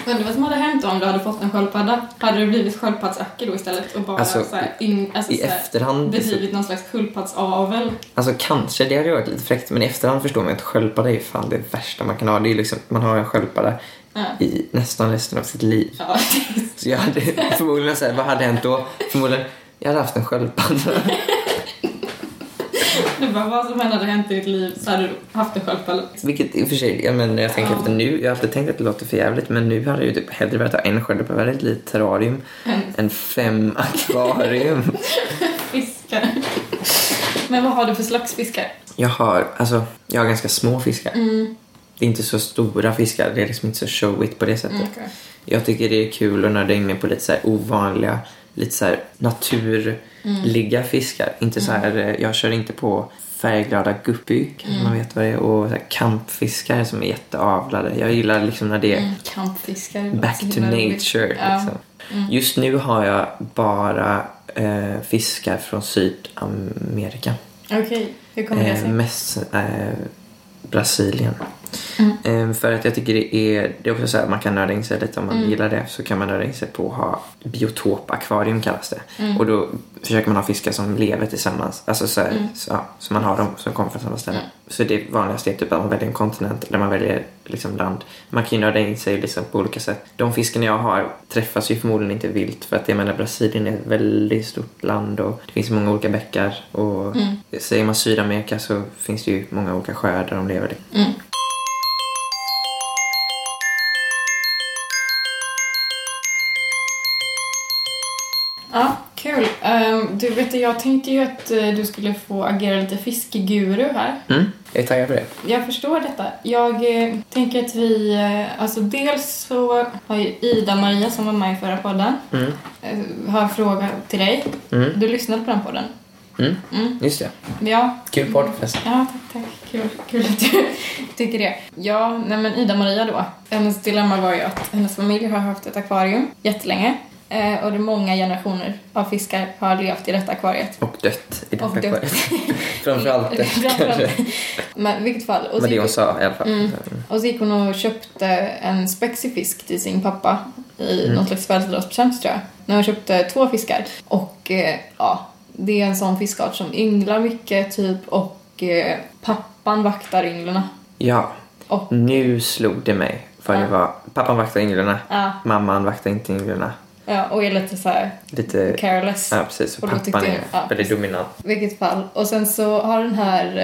Speaker 1: undrar vad som hade hänt då om du hade fått en sköldpadda? Hade du blivit sköldpaddsacke då istället och bara
Speaker 2: Alltså,
Speaker 1: så här, in, alltså,
Speaker 2: I
Speaker 1: så här,
Speaker 2: efterhand, liksom.
Speaker 1: bedrivit någon slags sköldpaddsavel?
Speaker 2: alltså kanske det hade varit lite fräckt men i efterhand förstår man att sköldpadda är ju fan det värsta man kan ha. Det är ju liksom, man har en sköldpadda
Speaker 1: Ja.
Speaker 2: i nästan resten av sitt liv.
Speaker 1: Ja. [laughs]
Speaker 2: Så jag hade förmodligen såhär, vad hade hänt då? Förmodligen, jag hade haft en sköldpadda. [laughs]
Speaker 1: Du bara, vad som än hade hänt i ditt liv så hade du haft en sköldpadda.
Speaker 2: Vilket i och för sig, jag menar när jag tänker
Speaker 1: Ja.
Speaker 2: efter nu, jag har alltid tänkt att det låter för jävligt men nu hade jag ju typ hellre velat ha en sköldpadda i ett litet terrarium
Speaker 1: En
Speaker 2: än fem [laughs] akvarium.
Speaker 1: fiskare. Men vad har du för slags fiskar?
Speaker 2: Jag har, alltså, jag har ganska små fiskar.
Speaker 1: Mm.
Speaker 2: Det är inte så stora fiskar, det är liksom inte så showigt på det sättet.
Speaker 1: Mm, okej.
Speaker 2: Jag tycker det är kul att nörda in mig på lite så här ovanliga, lite så här
Speaker 1: Mm.
Speaker 2: naturliga fiskar. Inte så här, eh, jag kör inte på färgglada guppy, kanske man
Speaker 1: Mm.
Speaker 2: vet vad det är, och så här kampfiskar som är jätteavlade. Jag gillar liksom när det är
Speaker 1: Mm. Kampfiskar. Det
Speaker 2: back
Speaker 1: låter så
Speaker 2: to
Speaker 1: himla roligt.
Speaker 2: nature.
Speaker 1: Ja.
Speaker 2: Liksom.
Speaker 1: Mm.
Speaker 2: Just nu har jag bara eh, fiskar från Sydamerika.
Speaker 1: Okej, hur kommer det
Speaker 2: Eh,
Speaker 1: sig?
Speaker 2: mest eh, Brasilien.
Speaker 1: Mm. Mm.
Speaker 2: Eh, för att jag tycker det är, det är också så här, man kan nörda in sig lite om man gillar det så kan man nörda in sig på att ha biotopakvarium kallas det.
Speaker 1: Mm,
Speaker 2: Och då försöker man ha fiskar som lever tillsammans, alltså så, här,
Speaker 1: Mm.
Speaker 2: så, ja, så man har dem som kommer från samma ställe. Så det vanligaste är typ att man väljer en kontinent eller man väljer liksom land. Man kan ju nörda in sig liksom på olika sätt. De fiskarna jag har träffas ju förmodligen inte vilt för att jag menar Brasilien är ett väldigt stort land och det finns många olika bäckar och
Speaker 1: Mm.
Speaker 2: säger man Sydamerika så finns det ju många olika sjöar där de lever.
Speaker 1: Mm. Ja, kul. Ehm, du vet, jag tänkte ju att eh, du skulle få agera lite fiskeguru här.
Speaker 2: Mm, jag är taggad på det.
Speaker 1: Jag förstår detta. Jag eh, tänker att vi, eh, alltså dels så har ju Ida-Maria som var med i förra podden,
Speaker 2: Mm,
Speaker 1: eh, har en fråga till dig.
Speaker 2: mm,
Speaker 1: Du lyssnade på den podden?
Speaker 2: mm.
Speaker 1: Mm.
Speaker 2: Just det.
Speaker 1: Ja,
Speaker 2: Kul podd förresten.
Speaker 1: Ja, tack, tack. Kul, kul att du [laughs] tycker det. Ja, nej men Ida-Maria då. Hennes dilemma var ju att hennes familj har haft ett akvarium jättelänge. Eh, och det är många generationer av fiskar har levt i detta akvariet.
Speaker 2: Och dött i
Speaker 1: Och
Speaker 2: detta
Speaker 1: dött. [laughs]
Speaker 2: akvariet. Framförallt dött
Speaker 1: Framförallt.
Speaker 2: kanske.
Speaker 1: Men i vilket fall. Och så,
Speaker 2: Men det
Speaker 1: gick,
Speaker 2: hon sa i alla fall.
Speaker 1: Mm. och så gick hon och köpte en spexig fisk till sin pappa i någon slags födelsedagspresent tror jag. När hon köpte två fiskar. Och eh, ja, det är en sån fiskart som ynglar mycket typ och eh, pappan vaktar ynglarna.
Speaker 2: Ja,
Speaker 1: Och
Speaker 2: nu slog det mig vad det
Speaker 1: Ja.
Speaker 2: var. Pappan vaktar ynglarna.
Speaker 1: ja,
Speaker 2: Mamman vaktar inte ynglarna.
Speaker 1: Ja, och är lite så här
Speaker 2: Lite...
Speaker 1: careless.
Speaker 2: Ja, precis. Och
Speaker 1: Och då
Speaker 2: pappan
Speaker 1: tyckte
Speaker 2: är
Speaker 1: jag- ja,
Speaker 2: väldigt
Speaker 1: precis.
Speaker 2: dominant.
Speaker 1: Vilket fall. Och sen så har den här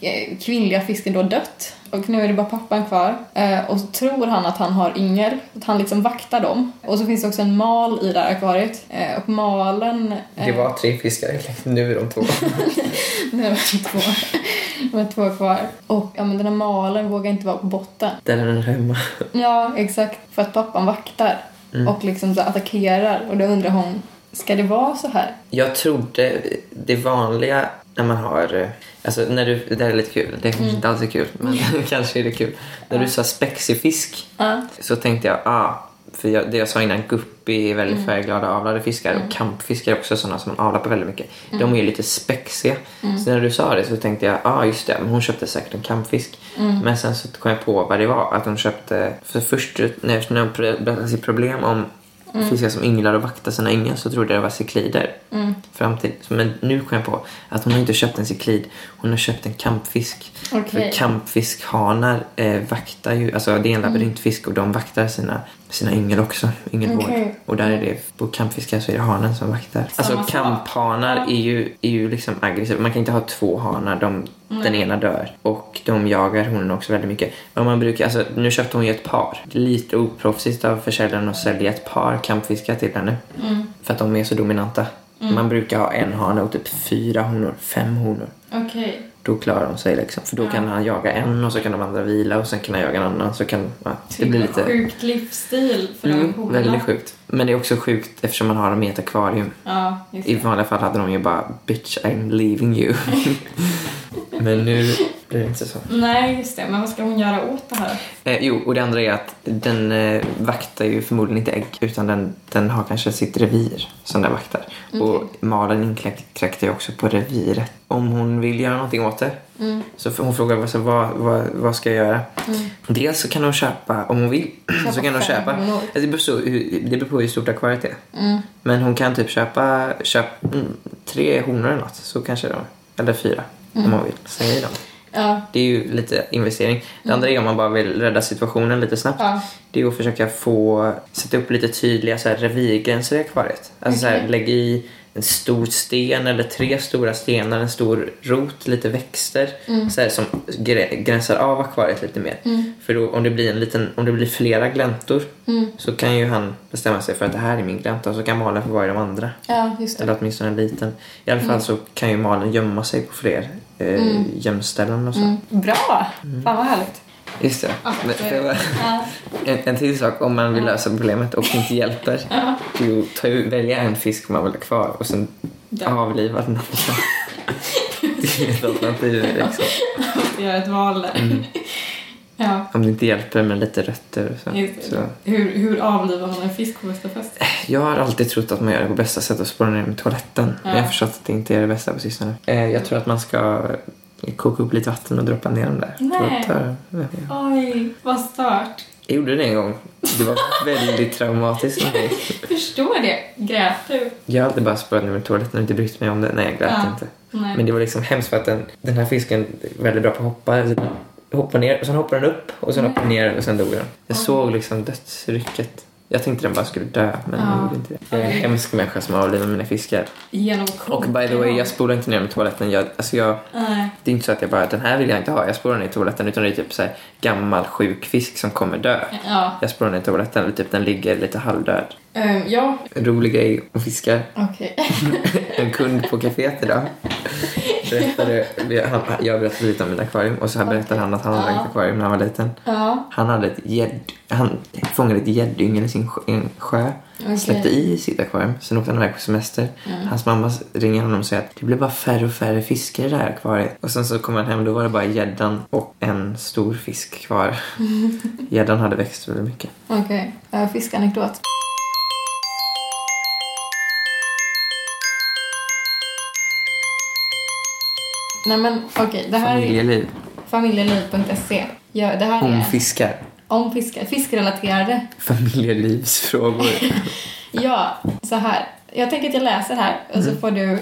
Speaker 1: eh, kvinnliga fisken då dött. Och nu är det bara pappan kvar. Eh, och så tror han att han har yngel. Att han liksom vaktar dem. Och så finns det också en mal i det här akvariet. Eh, och malen... eh, [laughs]
Speaker 2: Det var tre fiskar. Nu är de två.
Speaker 1: Nej, det var två. Det var två kvar. Och ja, men den här malen vågar inte vara på botten.
Speaker 2: Där är den hemma.
Speaker 1: Ja, exakt. För att pappan vaktar.
Speaker 2: Mm.
Speaker 1: Och liksom så attackerar. Och då undrar hon, ska det vara så här?
Speaker 2: Jag trodde det vanliga när man har... eh, Alltså när du, det här är lite kul, det kanske
Speaker 1: Mm.
Speaker 2: inte [laughs] alls är kul men kanske är det kul. När du sa spexig fisk
Speaker 1: Ja.
Speaker 2: så tänkte jag ah, för jag, det jag sa innan, guppy är väldigt
Speaker 1: Mm.
Speaker 2: färgglada avlade fiskar
Speaker 1: Mm.
Speaker 2: och kampfiskar är också sådana som man avlar på väldigt mycket.
Speaker 1: Mm.
Speaker 2: De är ju lite spexiga.
Speaker 1: Mm.
Speaker 2: Så när du sa det så tänkte jag, ja ah, just det, men hon köpte säkert en kampfisk.
Speaker 1: Mm.
Speaker 2: Men sen så kom jag på vad det var, att hon köpte, för först när när hon pr- berättade sitt problem om
Speaker 1: Mm.
Speaker 2: fiskar som ynglar och vaktar sina yngel så trodde jag det var ciklider.
Speaker 1: Mm.
Speaker 2: Fram till, men nu kom jag på att hon har inte köpt en ciklid, hon har köpt en kampfisk.
Speaker 1: Okej.
Speaker 2: För kampfiskhanar eh, vaktar ju, alltså det är en
Speaker 1: Mm.
Speaker 2: labyrintfisk och de vaktar sina, sina yngel också, yngelvård.
Speaker 1: Okej.
Speaker 2: Och där är det, på kampfiskar så är det hanen som vaktar.
Speaker 1: Samma
Speaker 2: alltså
Speaker 1: sak.
Speaker 2: kamphanar är ju, är ju liksom aggressiva, man kan inte ha två hanar, de,
Speaker 1: Nej.
Speaker 2: den ena dör. Och de jagar honen också väldigt mycket. Men man brukar, alltså nu köpte hon ju ett par. Lite oproffsigt av försäljaren att sälja ett par kampfiskar till henne.
Speaker 1: Mm.
Speaker 2: För att de är så dominanta. Man brukar ha en hane och typ fyra honor, fem honor.
Speaker 1: Okej.
Speaker 2: Då klarar de sig liksom. För då
Speaker 1: Ja.
Speaker 2: kan han jaga en och så kan de andra vila och sen kan han jaga en annan. Så kan, ja, det
Speaker 1: Typ
Speaker 2: blir lite
Speaker 1: Sjukt livsstil för de
Speaker 2: mm,
Speaker 1: honorna.
Speaker 2: väldigt sjukt. Men det är också sjukt eftersom man har dem i ett akvarium.
Speaker 1: Ja, just
Speaker 2: I
Speaker 1: det.
Speaker 2: vanliga fall hade de ju bara bitch I'm leaving
Speaker 1: [laughs]
Speaker 2: you. Men nu blir det inte så.
Speaker 1: Nej, just det. Men vad ska hon göra åt det här?
Speaker 2: Eh, jo, och det andra är att den eh, vaktar ju förmodligen inte ägg utan den, den har kanske sitt revir som den vaktar.
Speaker 1: Mm.
Speaker 2: Och Malin inkräktar ju också på reviret. Om hon vill göra någonting åt det
Speaker 1: Mm.
Speaker 2: så f- hon frågar alltså, vad, vad, vad ska jag göra?
Speaker 1: Mm.
Speaker 2: Dels så kan hon köpa, om hon vill, [clears throat] så kan hon
Speaker 1: fem
Speaker 2: köpa. Alltså,
Speaker 1: honor.
Speaker 2: Det beror, så, hur- det beror på hur stort akvariet är.
Speaker 1: Mm.
Speaker 2: Men hon kan typ köpa, köp, mm, tre honor eller något så kanske de, eller fyra
Speaker 1: Mm.
Speaker 2: om hon vill. Sen är de.
Speaker 1: Ja.
Speaker 2: Det är ju lite investering. Det andra är om man bara vill rädda situationen lite snabbt.
Speaker 1: Ja.
Speaker 2: Det är att försöka få sätta upp lite tydliga så här, revirgränser i akvariet. Alltså så
Speaker 1: Okej.
Speaker 2: här, lägg i en stor sten eller tre stora stenar, en stor rot, lite växter
Speaker 1: Mm.
Speaker 2: så här, som grä- gränsar av akvariet lite mer.
Speaker 1: Mm.
Speaker 2: För då, om, det blir en liten, om det blir flera gläntor
Speaker 1: Mm.
Speaker 2: så kan ju han bestämma sig för att det här är min glänta och så kan Malin få vara i de andra.
Speaker 1: Ja, just det.
Speaker 2: Eller åtminstone en liten. I alla fall
Speaker 1: Mm.
Speaker 2: så kan ju Malin gömma sig på fler eh,
Speaker 1: Mm.
Speaker 2: gömställen och så. Mm.
Speaker 1: Mm. Bra! Fan vad härligt.
Speaker 2: Just det.
Speaker 1: Ja,
Speaker 2: Men,
Speaker 1: Ah, det är
Speaker 2: det var-
Speaker 1: Ja.
Speaker 2: en, en till sak om man vill
Speaker 1: Ja.
Speaker 2: lösa problemet och inte hjälper. Det är ju att ta ut- välja en fisk man vill ha kvar och sen
Speaker 1: Ja.
Speaker 2: avliva
Speaker 1: [laughs]
Speaker 2: den andra. det är ett alternativ liksom. Mm.
Speaker 1: Vi gör ett val där. Ja.
Speaker 2: Om det inte hjälper med lite rötter och så.
Speaker 1: Just det.
Speaker 2: så.
Speaker 1: Hur, hur avlivar man en fisk på bästa fest?
Speaker 2: Jag har alltid trott att man gör det på bästa sätt att spåra ner med toaletten. Men jag
Speaker 1: Ja.
Speaker 2: har förstått att det inte är det bästa på sistone. Eh, jag tror att man ska koka upp lite vatten och droppa ner dem där.
Speaker 1: Nej.
Speaker 2: Då tar- Ja.
Speaker 1: Oj, vad stört.
Speaker 2: Jag gjorde det en gång. Det var väldigt traumatiskt för mig.
Speaker 1: Förstår det. Grät du?
Speaker 2: Jag har alltid bara spårat ner med toaletten och inte brytt mig om det. Nej, jag grät
Speaker 1: Ja.
Speaker 2: inte.
Speaker 1: Nej.
Speaker 2: Men det var liksom hemskt för att den, den här fisken är väldigt bra på att hoppa. Så den Hoppar ner och sen hoppar den upp och sen
Speaker 1: Nej.
Speaker 2: hoppar den ner och sen dog den. Jag
Speaker 1: Oj.
Speaker 2: såg liksom dödsrycket. Jag tänkte den bara skulle dö men
Speaker 1: Ja.
Speaker 2: den gjorde inte det. Jag är en
Speaker 1: Oj.
Speaker 2: hemsk människa som avlivar mina fiskar.
Speaker 1: Genom kokan.
Speaker 2: Och by the way, jag spolar inte ner dem i toaletten. Jag, alltså jag,
Speaker 1: Nej.
Speaker 2: det är inte så att jag bara den här vill jag inte ha. Jag spolar ner i toaletten utan det är typ så här gammal sjuk fisk som kommer dö.
Speaker 1: Ja.
Speaker 2: Jag spolar ner i toaletten och typ den ligger lite halvdöd.
Speaker 1: Ehm, ja,
Speaker 2: En rolig grej om fiskar.
Speaker 1: okej.
Speaker 2: en kund på kaféet idag berättade, vi- han, jag berättade lite om mitt akvarium och så här berättade han att han hade
Speaker 1: Ja.
Speaker 2: ett akvarium när han var liten.
Speaker 1: Ja,
Speaker 2: Han, hade ett gädd, han fångade ett gäddyngel i sin sjö, i en sjö,
Speaker 1: okej.
Speaker 2: släppte i i sitt akvarium, sen åkte han iväg på semester.
Speaker 1: Mm.
Speaker 2: Hans mamma ringer honom och säger att det blir bara färre och färre fiskar i det här akvariet. Och sen så kom han hem, då var det bara gäddan och en stor fisk
Speaker 1: [laughs]
Speaker 2: kvar. Gäddan hade växt väldigt mycket.
Speaker 1: Okej. Okay. Fiskanekdot. Nej men okej, det här är
Speaker 2: Familjeliv.
Speaker 1: familjeliv.se. Ja, det här
Speaker 2: Om
Speaker 1: är
Speaker 2: fiskar.
Speaker 1: om fiskar, fiskrelaterade
Speaker 2: Familjelivsfrågor.
Speaker 1: Ja, så här. Jag tänker att jag läser här och
Speaker 2: Mm.
Speaker 1: så får du...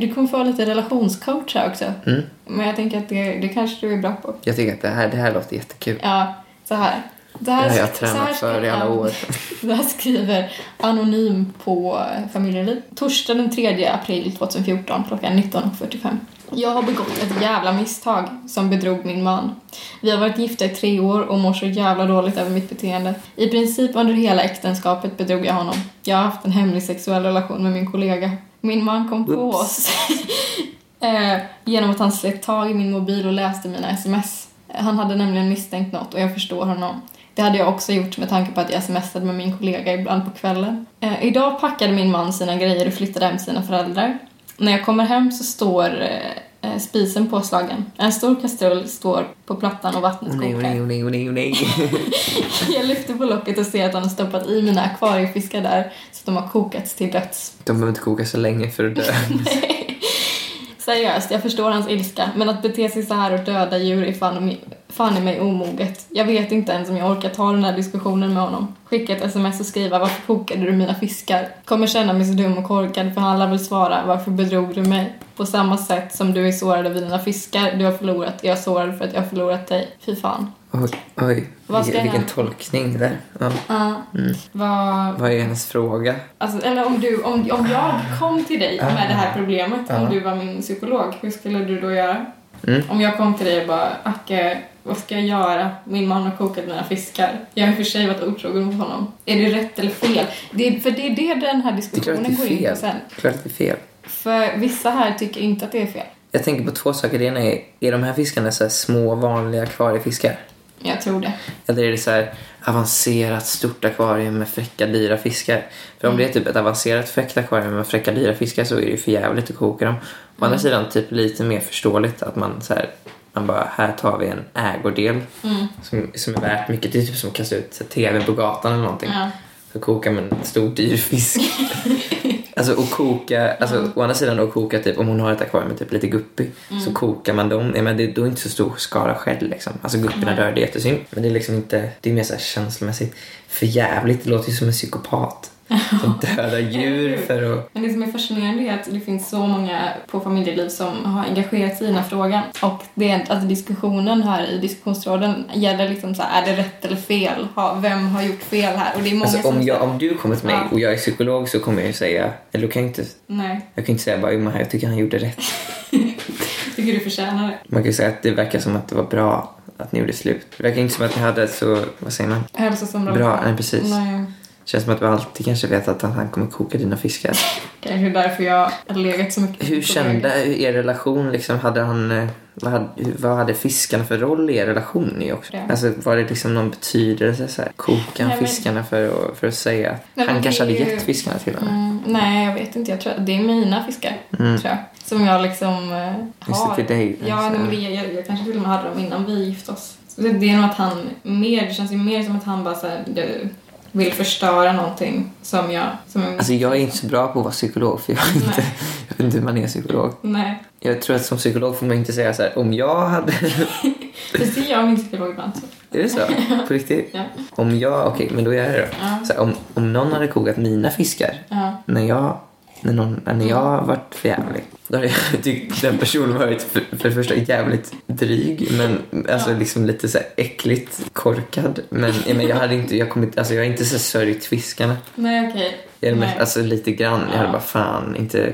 Speaker 1: Du kommer få lite relationscoach här också.
Speaker 2: Mm.
Speaker 1: Men jag tänker att det, det kanske du är bra på.
Speaker 2: Jag tycker att det här, det här låter jättekul.
Speaker 1: Ja, så här. Det
Speaker 2: Typ. Det
Speaker 1: här,
Speaker 2: har jag
Speaker 1: så här
Speaker 2: tränat för i
Speaker 1: skri-
Speaker 2: alla
Speaker 1: ja.
Speaker 2: år.
Speaker 1: [laughs] Det här skriver Anonym på Familjeliv. Torsdag den 3 april 2014 klockan 19.45. Jag har begått ett jävla misstag som bedrog min man. Vi har varit gifta i tre år och mår så jävla dåligt över mitt beteende. I princip under hela äktenskapet bedrog jag honom. Jag har haft en hemlig sexuell relation med min kollega. Min man kom på
Speaker 2: Oops.
Speaker 1: oss eh, genom att han slet tag i min mobil och läste mina sms. Eh, Han hade nämligen misstänkt något och jag förstår honom. Det hade jag också gjort med tanke på att jag smsade med min kollega ibland på kvällen. Eh, idag packade min man sina grejer och flyttade hem till sina föräldrar. När jag kommer hem så står eh, eh, spisen påslagen. En stor kastrull står på plattan och vattnet
Speaker 2: Åh nej, åh
Speaker 1: kokar.
Speaker 2: nej, åh nej, åh nej, åh nej.
Speaker 1: [laughs] Jag lyfter på locket och ser att de har stoppat i mina akvariefiskar där så att de har kokats till döds.
Speaker 2: De behöver inte koka så länge för
Speaker 1: [laughs]
Speaker 2: att dö.
Speaker 1: Seriöst, jag förstår hans ilska, men att bete sig så här och döda djur är fan, fan i mig omoget. Jag vet inte ens om jag orkar ta den här diskussionen med honom. Skicka ett sms och skriva “Varför kokade du mina fiskar?” Kommer känna mig så dum och korkad för han lär väl svara “Varför bedrog du mig?” På samma sätt som du är sårad över dina fiskar du har förlorat, är jag sårad för att jag har förlorat dig. Fy fan.
Speaker 2: Oj, oj.
Speaker 1: Vad ska
Speaker 2: Vilken,
Speaker 1: jag
Speaker 2: vilken
Speaker 1: göra?
Speaker 2: tolkning där. Ja.
Speaker 1: Uh,
Speaker 2: Mm.
Speaker 1: Vad...
Speaker 2: Vad är hennes fråga?
Speaker 1: Alltså, eller om, du, om, om jag kom till dig med det här problemet, om
Speaker 2: Ja.
Speaker 1: du var min psykolog, hur skulle du då göra?
Speaker 2: Mm.
Speaker 1: Om jag kom till dig och bara, Acke, vad ska jag göra? Min man har kokat mina fiskar. Jag har i och för sig varit otrogen mot honom. Är det rätt eller fel? Det är, för det är det den här
Speaker 2: Det är klart att det
Speaker 1: diskussionen går
Speaker 2: är
Speaker 1: in på
Speaker 2: fel.
Speaker 1: sen.
Speaker 2: Klart att det är fel.
Speaker 1: För vissa här tycker inte att det är fel.
Speaker 2: Jag tänker på två saker. Det ena är, är de här fiskarna så här små vanliga akvariefiskar?
Speaker 1: Jag tror det.
Speaker 2: Eller är det så här avancerat stort akvarium med fräcka dyra fiskar? För om det är typ ett avancerat fräckt akvarium med fräcka dyra fiskar så är det ju för jävligt att koka dem. Å andra sidan typ lite mer förståeligt att man så här, man bara här tar vi en ägodel som, som är värt mycket. Det är typ som att kasta ut så här, tv på gatan eller någonting.
Speaker 1: Ja.
Speaker 2: Så kokar man en stor dyr fisk. alltså och koka, alltså
Speaker 1: Mm.
Speaker 2: å andra sidan att koka typ om hon har ett akvarium med typ lite guppy
Speaker 1: Mm.
Speaker 2: så kokar man dem. Ja, men det, då är det inte så stor skala själv liksom. Alltså guppierna dör, det är jättesynd. Men det är liksom inte, det är mer så här känslomässigt. För jävligt, det låter ju som
Speaker 1: [laughs]
Speaker 2: en psykopat. Som dödar djur för att...
Speaker 1: Men det som är fascinerande är att det finns så många på familjeliv som har engagerat sig i den här frågan. Och det är, alltså diskussionen här i diskussionstråden gäller liksom så här, är det rätt eller fel? Ha- Vem har gjort fel här? Och det är många
Speaker 2: Alltså om,
Speaker 1: som...
Speaker 2: jag, om du kommer till mig
Speaker 1: Ja.
Speaker 2: och jag är psykolog så kommer jag ju säga, eller då kan jag inte,
Speaker 1: Nej,
Speaker 2: jag kan inte säga bara jo men här, jag tycker han gjorde rätt.
Speaker 1: tycker du förtjänar det.
Speaker 2: Man kan ju säga att det verkar som att det var bra att ni gjorde slut. Det verkar inte som att ni hade så, vad säger man?
Speaker 1: Hälsa som
Speaker 2: Bra, nej precis.
Speaker 1: Nej,
Speaker 2: Känns som att vi alltid kanske vet att han kommer koka dina fiskar.
Speaker 1: kanske är därför jag har legat så mycket.
Speaker 2: Hur
Speaker 1: på
Speaker 2: kände
Speaker 1: vägen.
Speaker 2: er relation liksom? Hade han, eh, vad hade, hur- vad hade fiskarna för roll i er relation i också?
Speaker 1: Ja.
Speaker 2: Alltså var det liksom någon betydelse så här? Koka
Speaker 1: Nej, men-
Speaker 2: fiskarna för att, för att säga att
Speaker 1: Nej, men
Speaker 2: han
Speaker 1: det
Speaker 2: kanske
Speaker 1: är
Speaker 2: hade
Speaker 1: ju-
Speaker 2: gett fiskarna till honom?
Speaker 1: Mm, nej, jag vet inte. Jag tror att det är mina fiskar,
Speaker 2: Mm.
Speaker 1: tror jag. Som jag liksom eh,
Speaker 2: Just det,
Speaker 1: har.
Speaker 2: till dig.
Speaker 1: Ja,
Speaker 2: alltså.
Speaker 1: men det, jag, jag kanske till och med hade dem innan vi gifte oss. Så det, det är nog att han mer, det känns ju mer som att han bara såhär, du vill förstöra någonting som jag, som jag
Speaker 2: Alltså jag är inte så bra på att vara psykolog för jag, är inte,
Speaker 1: Nej.
Speaker 2: jag vet inte hur man är psykolog.
Speaker 1: Nej,
Speaker 2: Jag tror att som psykolog får man inte säga så här om jag hade...
Speaker 1: det ser jag och min psykolog ibland. Så.
Speaker 2: är det så? På riktigt?
Speaker 1: [laughs] Ja.
Speaker 2: Om jag, okej men då är det då.
Speaker 1: Ja,
Speaker 2: Så här, om, om någon hade kokat mina fiskar
Speaker 1: ja.
Speaker 2: när jag, när någon, när jag har varit för jävlig. Då hade Mm. jag [laughs] tyckt den personen varit för, för det första jävligt dryg men alltså
Speaker 1: Ja.
Speaker 2: liksom lite så här äckligt korkad. Men, ja, men jag hade inte, jag kommit, alltså jag har inte så här sörjt fiskarna.
Speaker 1: Nej, okej.
Speaker 2: Jag hade,
Speaker 1: Nej.
Speaker 2: mest- alltså lite grann. Jag hade
Speaker 1: Ja.
Speaker 2: bara fan inte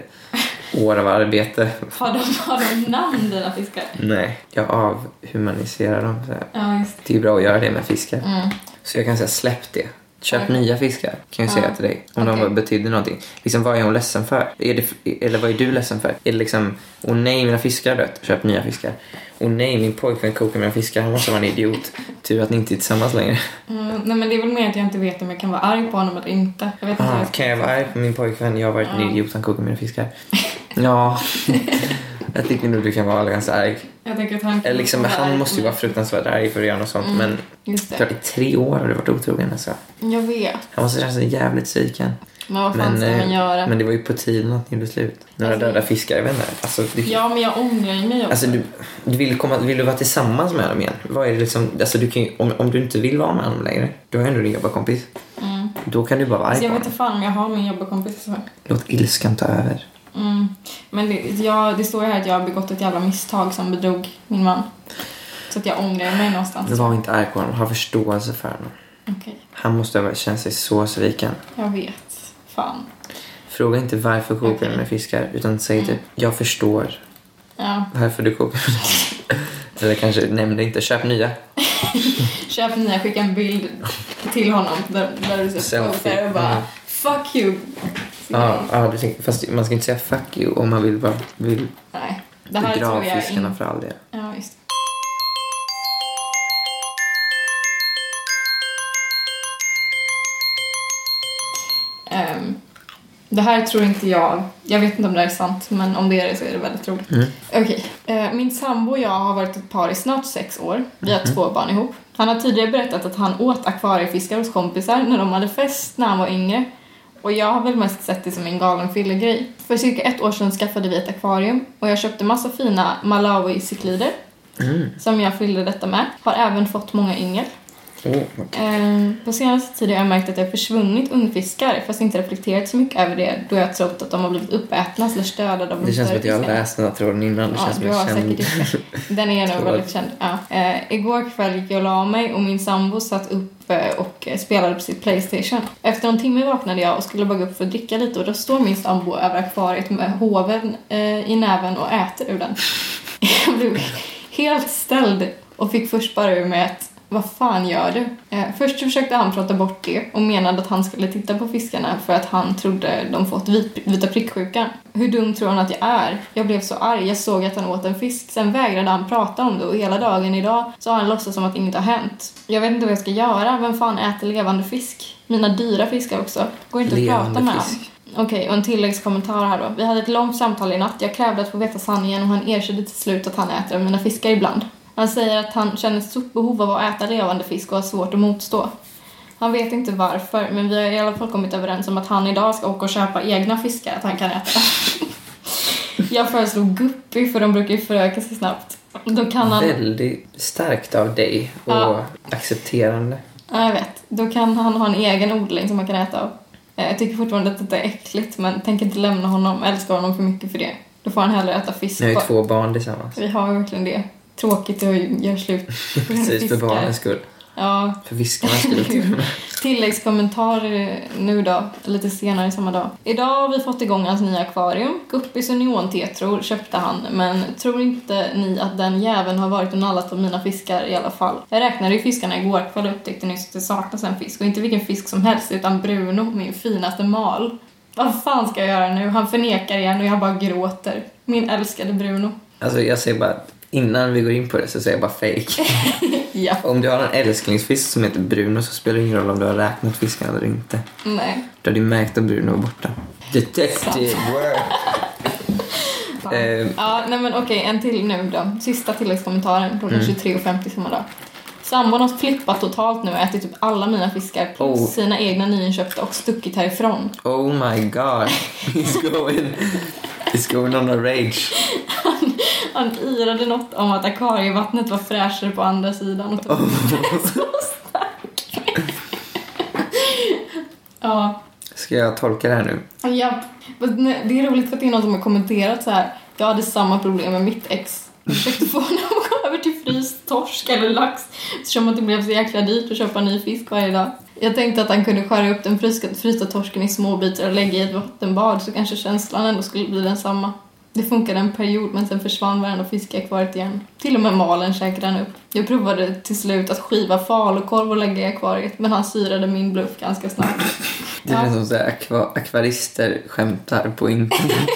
Speaker 2: år av arbete.
Speaker 1: Har de, har de namn dina fiskar?
Speaker 2: Nej, jag avhumaniserar dem. Så här.
Speaker 1: Ja, just
Speaker 2: Det är bra att göra det med fiskar.
Speaker 1: det. Mm.
Speaker 2: Så jag kan säga släpp det. Köp
Speaker 1: Okej.
Speaker 2: nya fiskar kan jag säga
Speaker 1: Mm. Ja.
Speaker 2: till dig. Om
Speaker 1: Okej.
Speaker 2: de betydde någonting. Liksom vad är hon ledsen för? Är det, eller vad är du ledsen för? Är det liksom, åh nej mina fiskar har dött, köp nya fiskar. Åh nej min pojkvän kokar mina fiskar, han måste vara en idiot. Tur att ni inte är tillsammans längre.
Speaker 1: Mm, nej, men det är väl mer att jag inte vet om jag kan vara arg på honom eller inte. Jag vet inte hur
Speaker 2: Ah,
Speaker 1: jag ska...
Speaker 2: kan jag vara arg på min pojkvän? Jag har varit
Speaker 1: Ja.
Speaker 2: en idiot, han kokar mina fiskar.
Speaker 1: [laughs]
Speaker 2: Ja, jag tycker nog du kan vara ganska arg.
Speaker 1: Jag tänker att han...
Speaker 2: Eller liksom,
Speaker 1: kan vara arg
Speaker 2: han
Speaker 1: på
Speaker 2: måste ju
Speaker 1: mig.
Speaker 2: vara fruktansvärt arg för att göra något sånt.
Speaker 1: Mm.
Speaker 2: Men
Speaker 1: Just det.
Speaker 2: klart i tre år har du varit otrogen alltså.
Speaker 1: Jag vet.
Speaker 2: Han måste känna sig jävligt sviken.
Speaker 1: Men vad fan
Speaker 2: Men,
Speaker 1: ska man
Speaker 2: eh,
Speaker 1: göra?
Speaker 2: Men det var ju på tiden att ni blev slut. Några
Speaker 1: Alltså-
Speaker 2: döda fiskar, jag vet inte. Alltså, du,
Speaker 1: Ja, men jag ångrar ju mig också.
Speaker 2: alltså, du, du vill, komma, vill du vara tillsammans med dem igen? Vad är det liksom, alltså, du kan ju, om, om du inte vill vara med dem längre, du har ju ändå din jobbarkompis.
Speaker 1: Mm.
Speaker 2: Då kan du bara vara
Speaker 1: Alltså
Speaker 2: arg
Speaker 1: jag
Speaker 2: på
Speaker 1: vet
Speaker 2: honom.
Speaker 1: inte fan om jag har min jobbarkompis så.
Speaker 2: Låt ilskan ta över.
Speaker 1: Mm. Men det, jag, det står ju här att jag har begått ett jävla misstag som bedrog min man. Så att jag ångrar mig någonstans.
Speaker 2: Var inte arg på honom, ha förståelse för honom.
Speaker 1: Okej,
Speaker 2: Han måste ha känt sig så sviken.
Speaker 1: jag vet. Fan.
Speaker 2: Fråga inte varför kokar
Speaker 1: Okej.
Speaker 2: du med fiskar, utan säg
Speaker 1: Mm.
Speaker 2: typ jag förstår
Speaker 1: Ja.
Speaker 2: varför du kokar med fiskar.
Speaker 1: [laughs]
Speaker 2: Eller kanske nämn det inte, köp nya.
Speaker 1: Köp nya, skicka en bild till honom där, där du ser
Speaker 2: Selfie.
Speaker 1: posar och bara
Speaker 2: Mm.
Speaker 1: Fuck you!
Speaker 2: Ja, ja, du tänker- fast man ska inte säga fuck you om man vill, bara, vill
Speaker 1: Nej. Det här
Speaker 2: begrava
Speaker 1: tror jag
Speaker 2: fiskarna
Speaker 1: inte.
Speaker 2: för all del.
Speaker 1: Ja, just det. Ehm, Det här tror inte jag, jag vet inte om det här är sant, men om det är det så är det väldigt roligt.
Speaker 2: Mm.
Speaker 1: Okej. Eh, Min sambo och jag har varit ett par i snart sex år. Vi har två barn ihop. Han har tidigare berättat att han åt akvariefiskar hos kompisar när de hade fest när han var yngre. Och jag har väl mest sett det som en galen fyllegrej. För cirka ett år sedan skaffade vi ett akvarium och jag köpte massa fina Malawi-cicklider
Speaker 2: Mm.
Speaker 1: som jag fyllde detta med. Har även fått många yngel.
Speaker 2: Åh, vad kul.
Speaker 1: Eh, På senaste tiden har jag märkt att det har försvunnit ungfiskar fast inte reflekterat så mycket över det då jag har trott att de har blivit uppätna eller dödade av de
Speaker 2: Det känns som
Speaker 1: större
Speaker 2: att jag har
Speaker 1: fiskarna.
Speaker 2: läst den här tråden innan. Det
Speaker 1: Ja,
Speaker 2: känns som
Speaker 1: du
Speaker 2: jag
Speaker 1: har
Speaker 2: känner-
Speaker 1: säkert gjort det. Den är
Speaker 2: [laughs]
Speaker 1: nog
Speaker 2: Tråd.
Speaker 1: väldigt känd. Ja. Eh, igår kväll gick jag och la mig och min sambo satt upp eh, och eh, spelade på sitt Playstation. Efter någon timme vaknade jag och skulle bara gå upp för att dricka lite och då står min sambo över akvariet med hoven eh, i näven och äter ur den. [laughs] Jag blev helt ställd och fick först bara ur mig att vad fan gör du? Eh, först försökte han prata bort det och menade att han skulle titta på fiskarna för att han trodde de fått vit, vita pricksjukan. Hur dum tror han att jag är? Jag blev så arg. Jag såg att han åt en fisk. Sen vägrade han prata om det och hela dagen idag så har han låtsats som att inget har hänt. Jag vet inte vad jag ska göra. Vem fan äter levande fisk? Mina dyra fiskar också. Går inte att
Speaker 2: Levande
Speaker 1: prata med
Speaker 2: fisk.
Speaker 1: honom. Okej, och en tilläggskommentar här då. Vi hade ett långt samtal i natt. Jag krävde att få veta sanningen och han erkände till slut att han äter mina fiskar ibland. Han säger att han känner ett stort behov av att äta levande fisk och har svårt att motstå. Han vet inte varför, men vi har i alla fall kommit överens om att han idag ska åka och köpa egna fiskar att han kan äta. [laughs] Jag föreslog guppy, för de brukar ju föröka sig snabbt. Då kan han...
Speaker 2: Väldigt starkt av dig och
Speaker 1: Ja.
Speaker 2: accepterande.
Speaker 1: Ja, jag vet. Då kan han ha en egen odling som man kan äta av. Eh, Jag tycker fortfarande att detta är äckligt men tänker inte lämna honom, älskar honom för mycket för det. Då får han hellre äta fisk.
Speaker 2: Ni har ju
Speaker 1: bara.
Speaker 2: två barn tillsammans.
Speaker 1: Vi har verkligen det. Tråkigt att göra slut.
Speaker 2: [laughs] Precis, för
Speaker 1: Fiskar.
Speaker 2: barnens skull.
Speaker 1: Ja.
Speaker 2: För
Speaker 1: [laughs]
Speaker 2: fiskarnas skull till och med.
Speaker 1: Tilläggskommentar eh, nu då, lite senare samma dag. Idag har vi fått igång hans nya akvarium. Guppis och neontetror köpte han, men tror inte ni att den jäveln har varit och nallat på mina fiskar i alla fall? Jag räknade ju fiskarna igår kväll och upptäckte nyss att det saknas en fisk, och inte vilken fisk som helst, utan Bruno, min finaste mal. Vad fan ska jag göra nu? Han förnekar igen och jag bara gråter. Min älskade Bruno.
Speaker 2: Alltså jag säger bara, innan vi går in på det så säger jag bara
Speaker 1: [laughs]
Speaker 2: fake.
Speaker 1: Ja.
Speaker 2: Om du har en älsklingsfisk som heter Bruno så spelar det ingen roll om du har räknat fiskarna eller inte.
Speaker 1: Nej.
Speaker 2: Då hade du märkt att Bruno var borta. Detective work!
Speaker 1: Fan.
Speaker 2: Eh.
Speaker 1: Ja, nej men okej, en till nu då. Sista tilläggskommentaren klockan
Speaker 2: Mm.
Speaker 1: 23.50 samma dag. Sambon har flippat totalt nu och ätit typ alla mina fiskar plus
Speaker 2: Oh.
Speaker 1: sina egna nyinköpta och stuckit härifrån.
Speaker 2: [laughs] Oh
Speaker 1: [laughs]
Speaker 2: my god. He's going, he's going on a rage.
Speaker 1: Han irade något om att akvarievattnet var fräschare på andra sidan och tog
Speaker 2: Oh.
Speaker 1: [laughs] så stark. ja,
Speaker 2: Ska jag tolka det här nu?
Speaker 1: ja. Men nej, Det är roligt för att det är någon som har kommenterat så här. Jag hade samma problem med mitt ex. Jag försökte få honom att [laughs] gå över till fryst torsk eller lax eftersom att det blev så jäkla dyrt att köpa ny fisk varje dag. Jag tänkte att han kunde skära upp den fryska, frysta torsken i små bitar och lägga i ett vattenbad så kanske känslan ändå skulle bli densamma. Det funkade en period men sen försvann varenda fisk i akvariet igen. Till och med malen käkade han upp. Jag provade till slut att skiva falukorv och lägga i akvariet men han syrade min bluff ganska snabbt.
Speaker 2: Det
Speaker 1: Ja.
Speaker 2: känns som så här, akva- akvarister skämtar
Speaker 1: [laughs]
Speaker 2: på internet.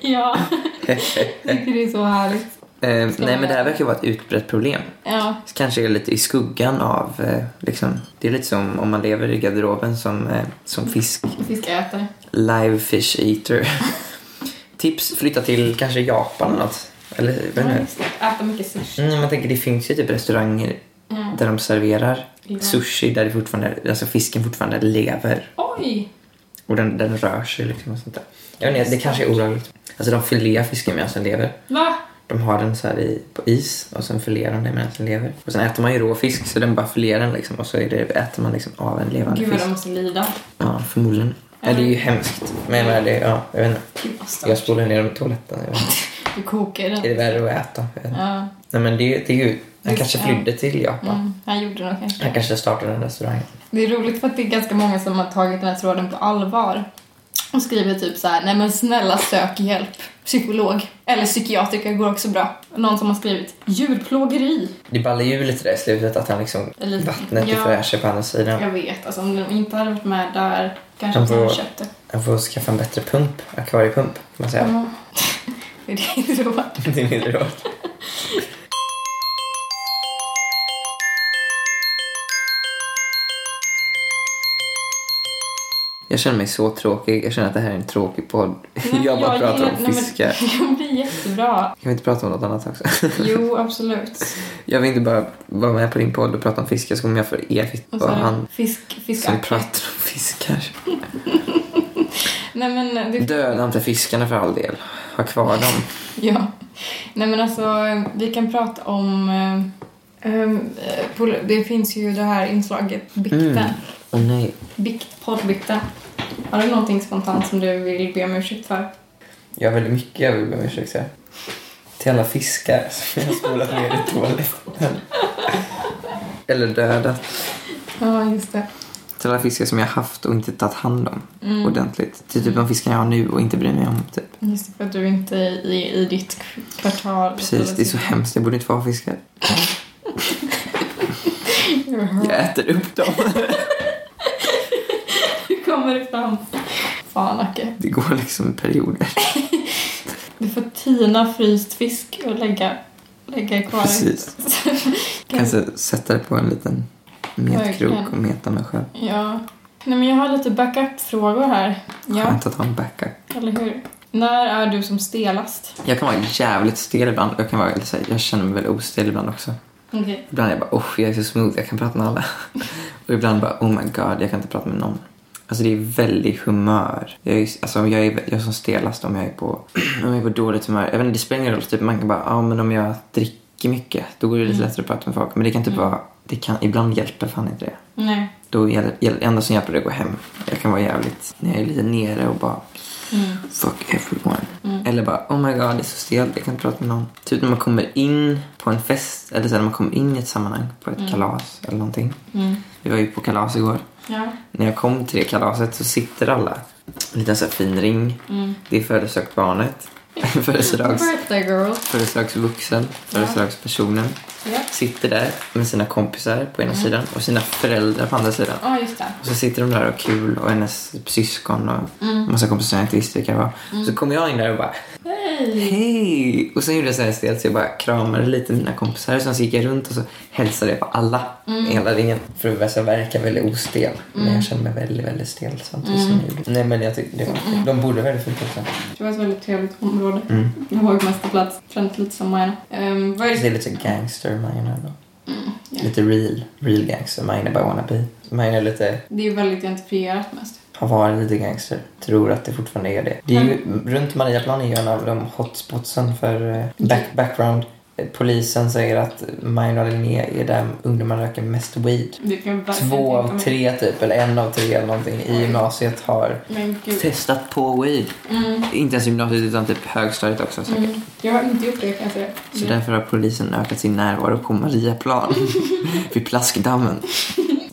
Speaker 1: Ja, [laughs] jag tycker det är så härligt.
Speaker 2: eh, nej men det här verkar vara ett utbrett problem.
Speaker 1: Ja,
Speaker 2: kanske är lite i skuggan av... Eh, liksom, det är lite som om man lever i garderoben som, eh, som fisk.
Speaker 1: fiskätare.
Speaker 2: Live fish
Speaker 1: [laughs]
Speaker 2: eater. Tips, flytta till kanske Japan eller något. Eller jag vet
Speaker 1: Ja,
Speaker 2: inte.
Speaker 1: just det. Äta mycket sushi.
Speaker 2: Mm, man tänker, det finns ju typ restauranger
Speaker 1: Ja.
Speaker 2: där de serverar
Speaker 1: Ja.
Speaker 2: sushi där det fortfarande, alltså fisken fortfarande lever
Speaker 1: Oj!
Speaker 2: och den, den rör sig. Liksom och sånt där. Jag vet inte, det kanske är olagligt. Alltså de filear fisken medan den lever.
Speaker 1: Va?
Speaker 2: De har den så här i, på is och sen filerar de den medan den lever. Och sen äter man ju rå fisk så den bara filerar den liksom och så är det, äter man liksom av en levande
Speaker 1: Gud vad
Speaker 2: fisk.
Speaker 1: de måste lida.
Speaker 2: Ja, förmodligen. Ja, det är ju hemskt. Men jag menar, det, ja, jag vet inte.
Speaker 1: Gud vad
Speaker 2: Jag
Speaker 1: starkt.
Speaker 2: spolar ner dem i toaletten. Jag vet inte.
Speaker 1: Du kokar
Speaker 2: Är
Speaker 1: den.
Speaker 2: det värre att äta? Jag vet inte.
Speaker 1: Ja.
Speaker 2: Nej men det, det är ju... Han
Speaker 1: Just-
Speaker 2: kanske
Speaker 1: ja.
Speaker 2: flydde till Japan.
Speaker 1: Mm, han gjorde nog kanske.
Speaker 2: Han kanske startade en restaurang.
Speaker 1: Det är roligt för att det är ganska många som har tagit den här tråden på allvar. Och skriver typ så här, nej men snälla sök hjälp. Psykolog. Eller psykiatriker går också bra. Någon som har skrivit, djurplågeri.
Speaker 2: Det ballar ju lite där i slutet att han liksom...
Speaker 1: Eller-
Speaker 2: Vattnet är
Speaker 1: Ja.
Speaker 2: fräscher på andra sidan.
Speaker 1: Jag vet, alltså om de inte hade varit med där kanske
Speaker 2: De
Speaker 1: inte hade
Speaker 2: får-
Speaker 1: köpt det.
Speaker 2: Han får skaffa en bättre pump. Akvariepump, kan
Speaker 1: [laughs]
Speaker 2: man säga.
Speaker 1: Ja. det är din råd.
Speaker 2: Det är mitt råd. Jag känner mig så tråkig. Jag känner att det här är en tråkig podd.
Speaker 1: men
Speaker 2: [laughs] jag bara pratar
Speaker 1: gillar-
Speaker 2: om
Speaker 1: nej, men-
Speaker 2: fiskar.
Speaker 1: [laughs] Det blir jättebra.
Speaker 2: Kan vi inte prata om något annat också? [laughs]
Speaker 1: Jo, absolut.
Speaker 2: Jag vill inte bara vara med på din podd och prata om fiskar så kommer jag få evigt
Speaker 1: Och
Speaker 2: vara
Speaker 1: så-
Speaker 2: han
Speaker 1: Fisk, fisk.
Speaker 2: som pratar om fiskar.
Speaker 1: Nej men, det,
Speaker 2: Döda inte fiskarna för all del. Ha kvar dem.
Speaker 1: ja. Nej men alltså, vi kan prata om... eh, em, eh, pol- det finns ju det här inslaget Bikten.
Speaker 2: Mm. Åh nej.
Speaker 1: Bikt, poddbikten. Har du någonting spontant som du vill be om ursäkt för?
Speaker 2: Jag har väldigt mycket jag vill be om ursäkt för. Till alla fiskar som jag har spolat ner i toaletten. Eller dödat.
Speaker 1: Ja, just det.
Speaker 2: Till alla fiskar som jag har haft och inte tagit hand om
Speaker 1: Mm.
Speaker 2: ordentligt. Till typ de fiskar jag har nu och inte bryr mig om. Typ.
Speaker 1: Just det, för att du inte är i, i ditt kvartal.
Speaker 2: Precis, det är så hemskt. Jag borde inte få ha fiskar.
Speaker 1: Mm.
Speaker 2: Jag äter upp dem.
Speaker 1: Hur kommer det fram? Fan, Acke.
Speaker 2: Det går liksom i perioder.
Speaker 1: Du får tina fryst fisk och lägga, lägga kvar.
Speaker 2: Precis. Kanske sätta det på en liten metkrok och
Speaker 1: Verkligen.
Speaker 2: meta mig själv.
Speaker 1: Ja. Nej, men jag har lite backup-frågor här. Ja,
Speaker 2: Skönt att ha en backup.
Speaker 1: eller hur? När är du som stelast?
Speaker 2: Jag kan vara jävligt stel ibland. Jag, kan vara, eller så här, jag känner mig väl ostel ibland också.
Speaker 1: Okej.
Speaker 2: Ibland är jag bara oh, jag är så smooth, jag kan prata
Speaker 1: [laughs]
Speaker 2: med alla. Och ibland bara oh my god, jag kan inte prata med någon. Alltså det är väldigt humör. Jag är, alltså, jag är, jag är som stelast om jag är på, [clears throat] om jag är på dåligt humör. Jag vet inte, det spelar ingen roll. Typ, man kan bara, ja ah, men om jag dricker mycket, då går det lite
Speaker 1: Mm.
Speaker 2: lättare att prata med folk. Men det kan typ
Speaker 1: Mm.
Speaker 2: vara, det kan, ibland hjälper fan inte det.
Speaker 1: Nej.
Speaker 2: Då gäller, gäller, enda som hjälper det är att gå hem. Jag kan vara jävligt, när jag är lite nere och bara
Speaker 1: Mm.
Speaker 2: fuck everyone.
Speaker 1: Mm.
Speaker 2: Eller bara, oh my god, det är så stelt, jag kan inte prata med någon. Typ när man kommer in på en fest, eller så när man kommer in i ett sammanhang, på ett
Speaker 1: Mm.
Speaker 2: kalas eller någonting.
Speaker 1: Mm.
Speaker 2: Vi var ju på kalas igår.
Speaker 1: Ja.
Speaker 2: När jag kom till det kalaset så sitter alla. En liten så här fin ring.
Speaker 1: Mm.
Speaker 2: Det är födelsedagsbarnet. [laughs] Födelsedags,
Speaker 1: Birthday girl.
Speaker 2: födelsedagsvuxen. Födelsedagspersonen.
Speaker 1: Ja.
Speaker 2: Sitter där med sina kompisar på ena
Speaker 1: Mm.
Speaker 2: sidan och sina föräldrar på andra sidan.
Speaker 1: Ja, just det.
Speaker 2: Och så sitter de där och har kul och hennes typ syskon och
Speaker 1: Mm.
Speaker 2: massa kompisar jag inte visste vilka det var. Så kommer jag in där och bara
Speaker 1: Hej!
Speaker 2: Hej! Och sen gjorde jag så här stelt så jag bara kramade lite mina kompisar. Sen så gick jag runt och så hälsade jag på alla
Speaker 1: Mm.
Speaker 2: i hela ringen. För att verka- verka väldigt ostel. Men jag kände mig väldigt, väldigt stel samtidigt som jag gjorde. Nej men jag tyckte det var De borde väldigt fint också.
Speaker 1: Det var ett väldigt trevligt område.
Speaker 2: Mm.
Speaker 1: Jag var mästerplats. Känns lite som Maja. Um, vad är
Speaker 2: Det är
Speaker 1: det?
Speaker 2: lite gangster Maja då.
Speaker 1: Mm, ja.
Speaker 2: Lite real, real gangster Maja bara wanna be. Maja är lite,
Speaker 1: Det är ju väldigt identifierat mest.
Speaker 2: har varit lite gangster. Tror att det fortfarande är det. Det är ju,
Speaker 1: Mm.
Speaker 2: runt Mariaplan är ju en av de hotspotsen för eh, back, background. Eh, Polisen säger att Maja och Linné är där ungdomar röker mest weed.
Speaker 1: Det kan jag verkligen
Speaker 2: Två
Speaker 1: tänka
Speaker 2: av
Speaker 1: mig.
Speaker 2: tre typ, eller en av tre eller någonting i gymnasiet har
Speaker 1: Men gud.
Speaker 2: testat på weed.
Speaker 1: Mm,
Speaker 2: Inte ens gymnasiet utan typ högstadiet också säkert.
Speaker 1: mm. Jag har inte gjort det kan jag säga.
Speaker 2: Så
Speaker 1: Mm.
Speaker 2: därför har polisen ökat sin närvaro
Speaker 1: [laughs]
Speaker 2: på Mariaplan vid plaskdammen.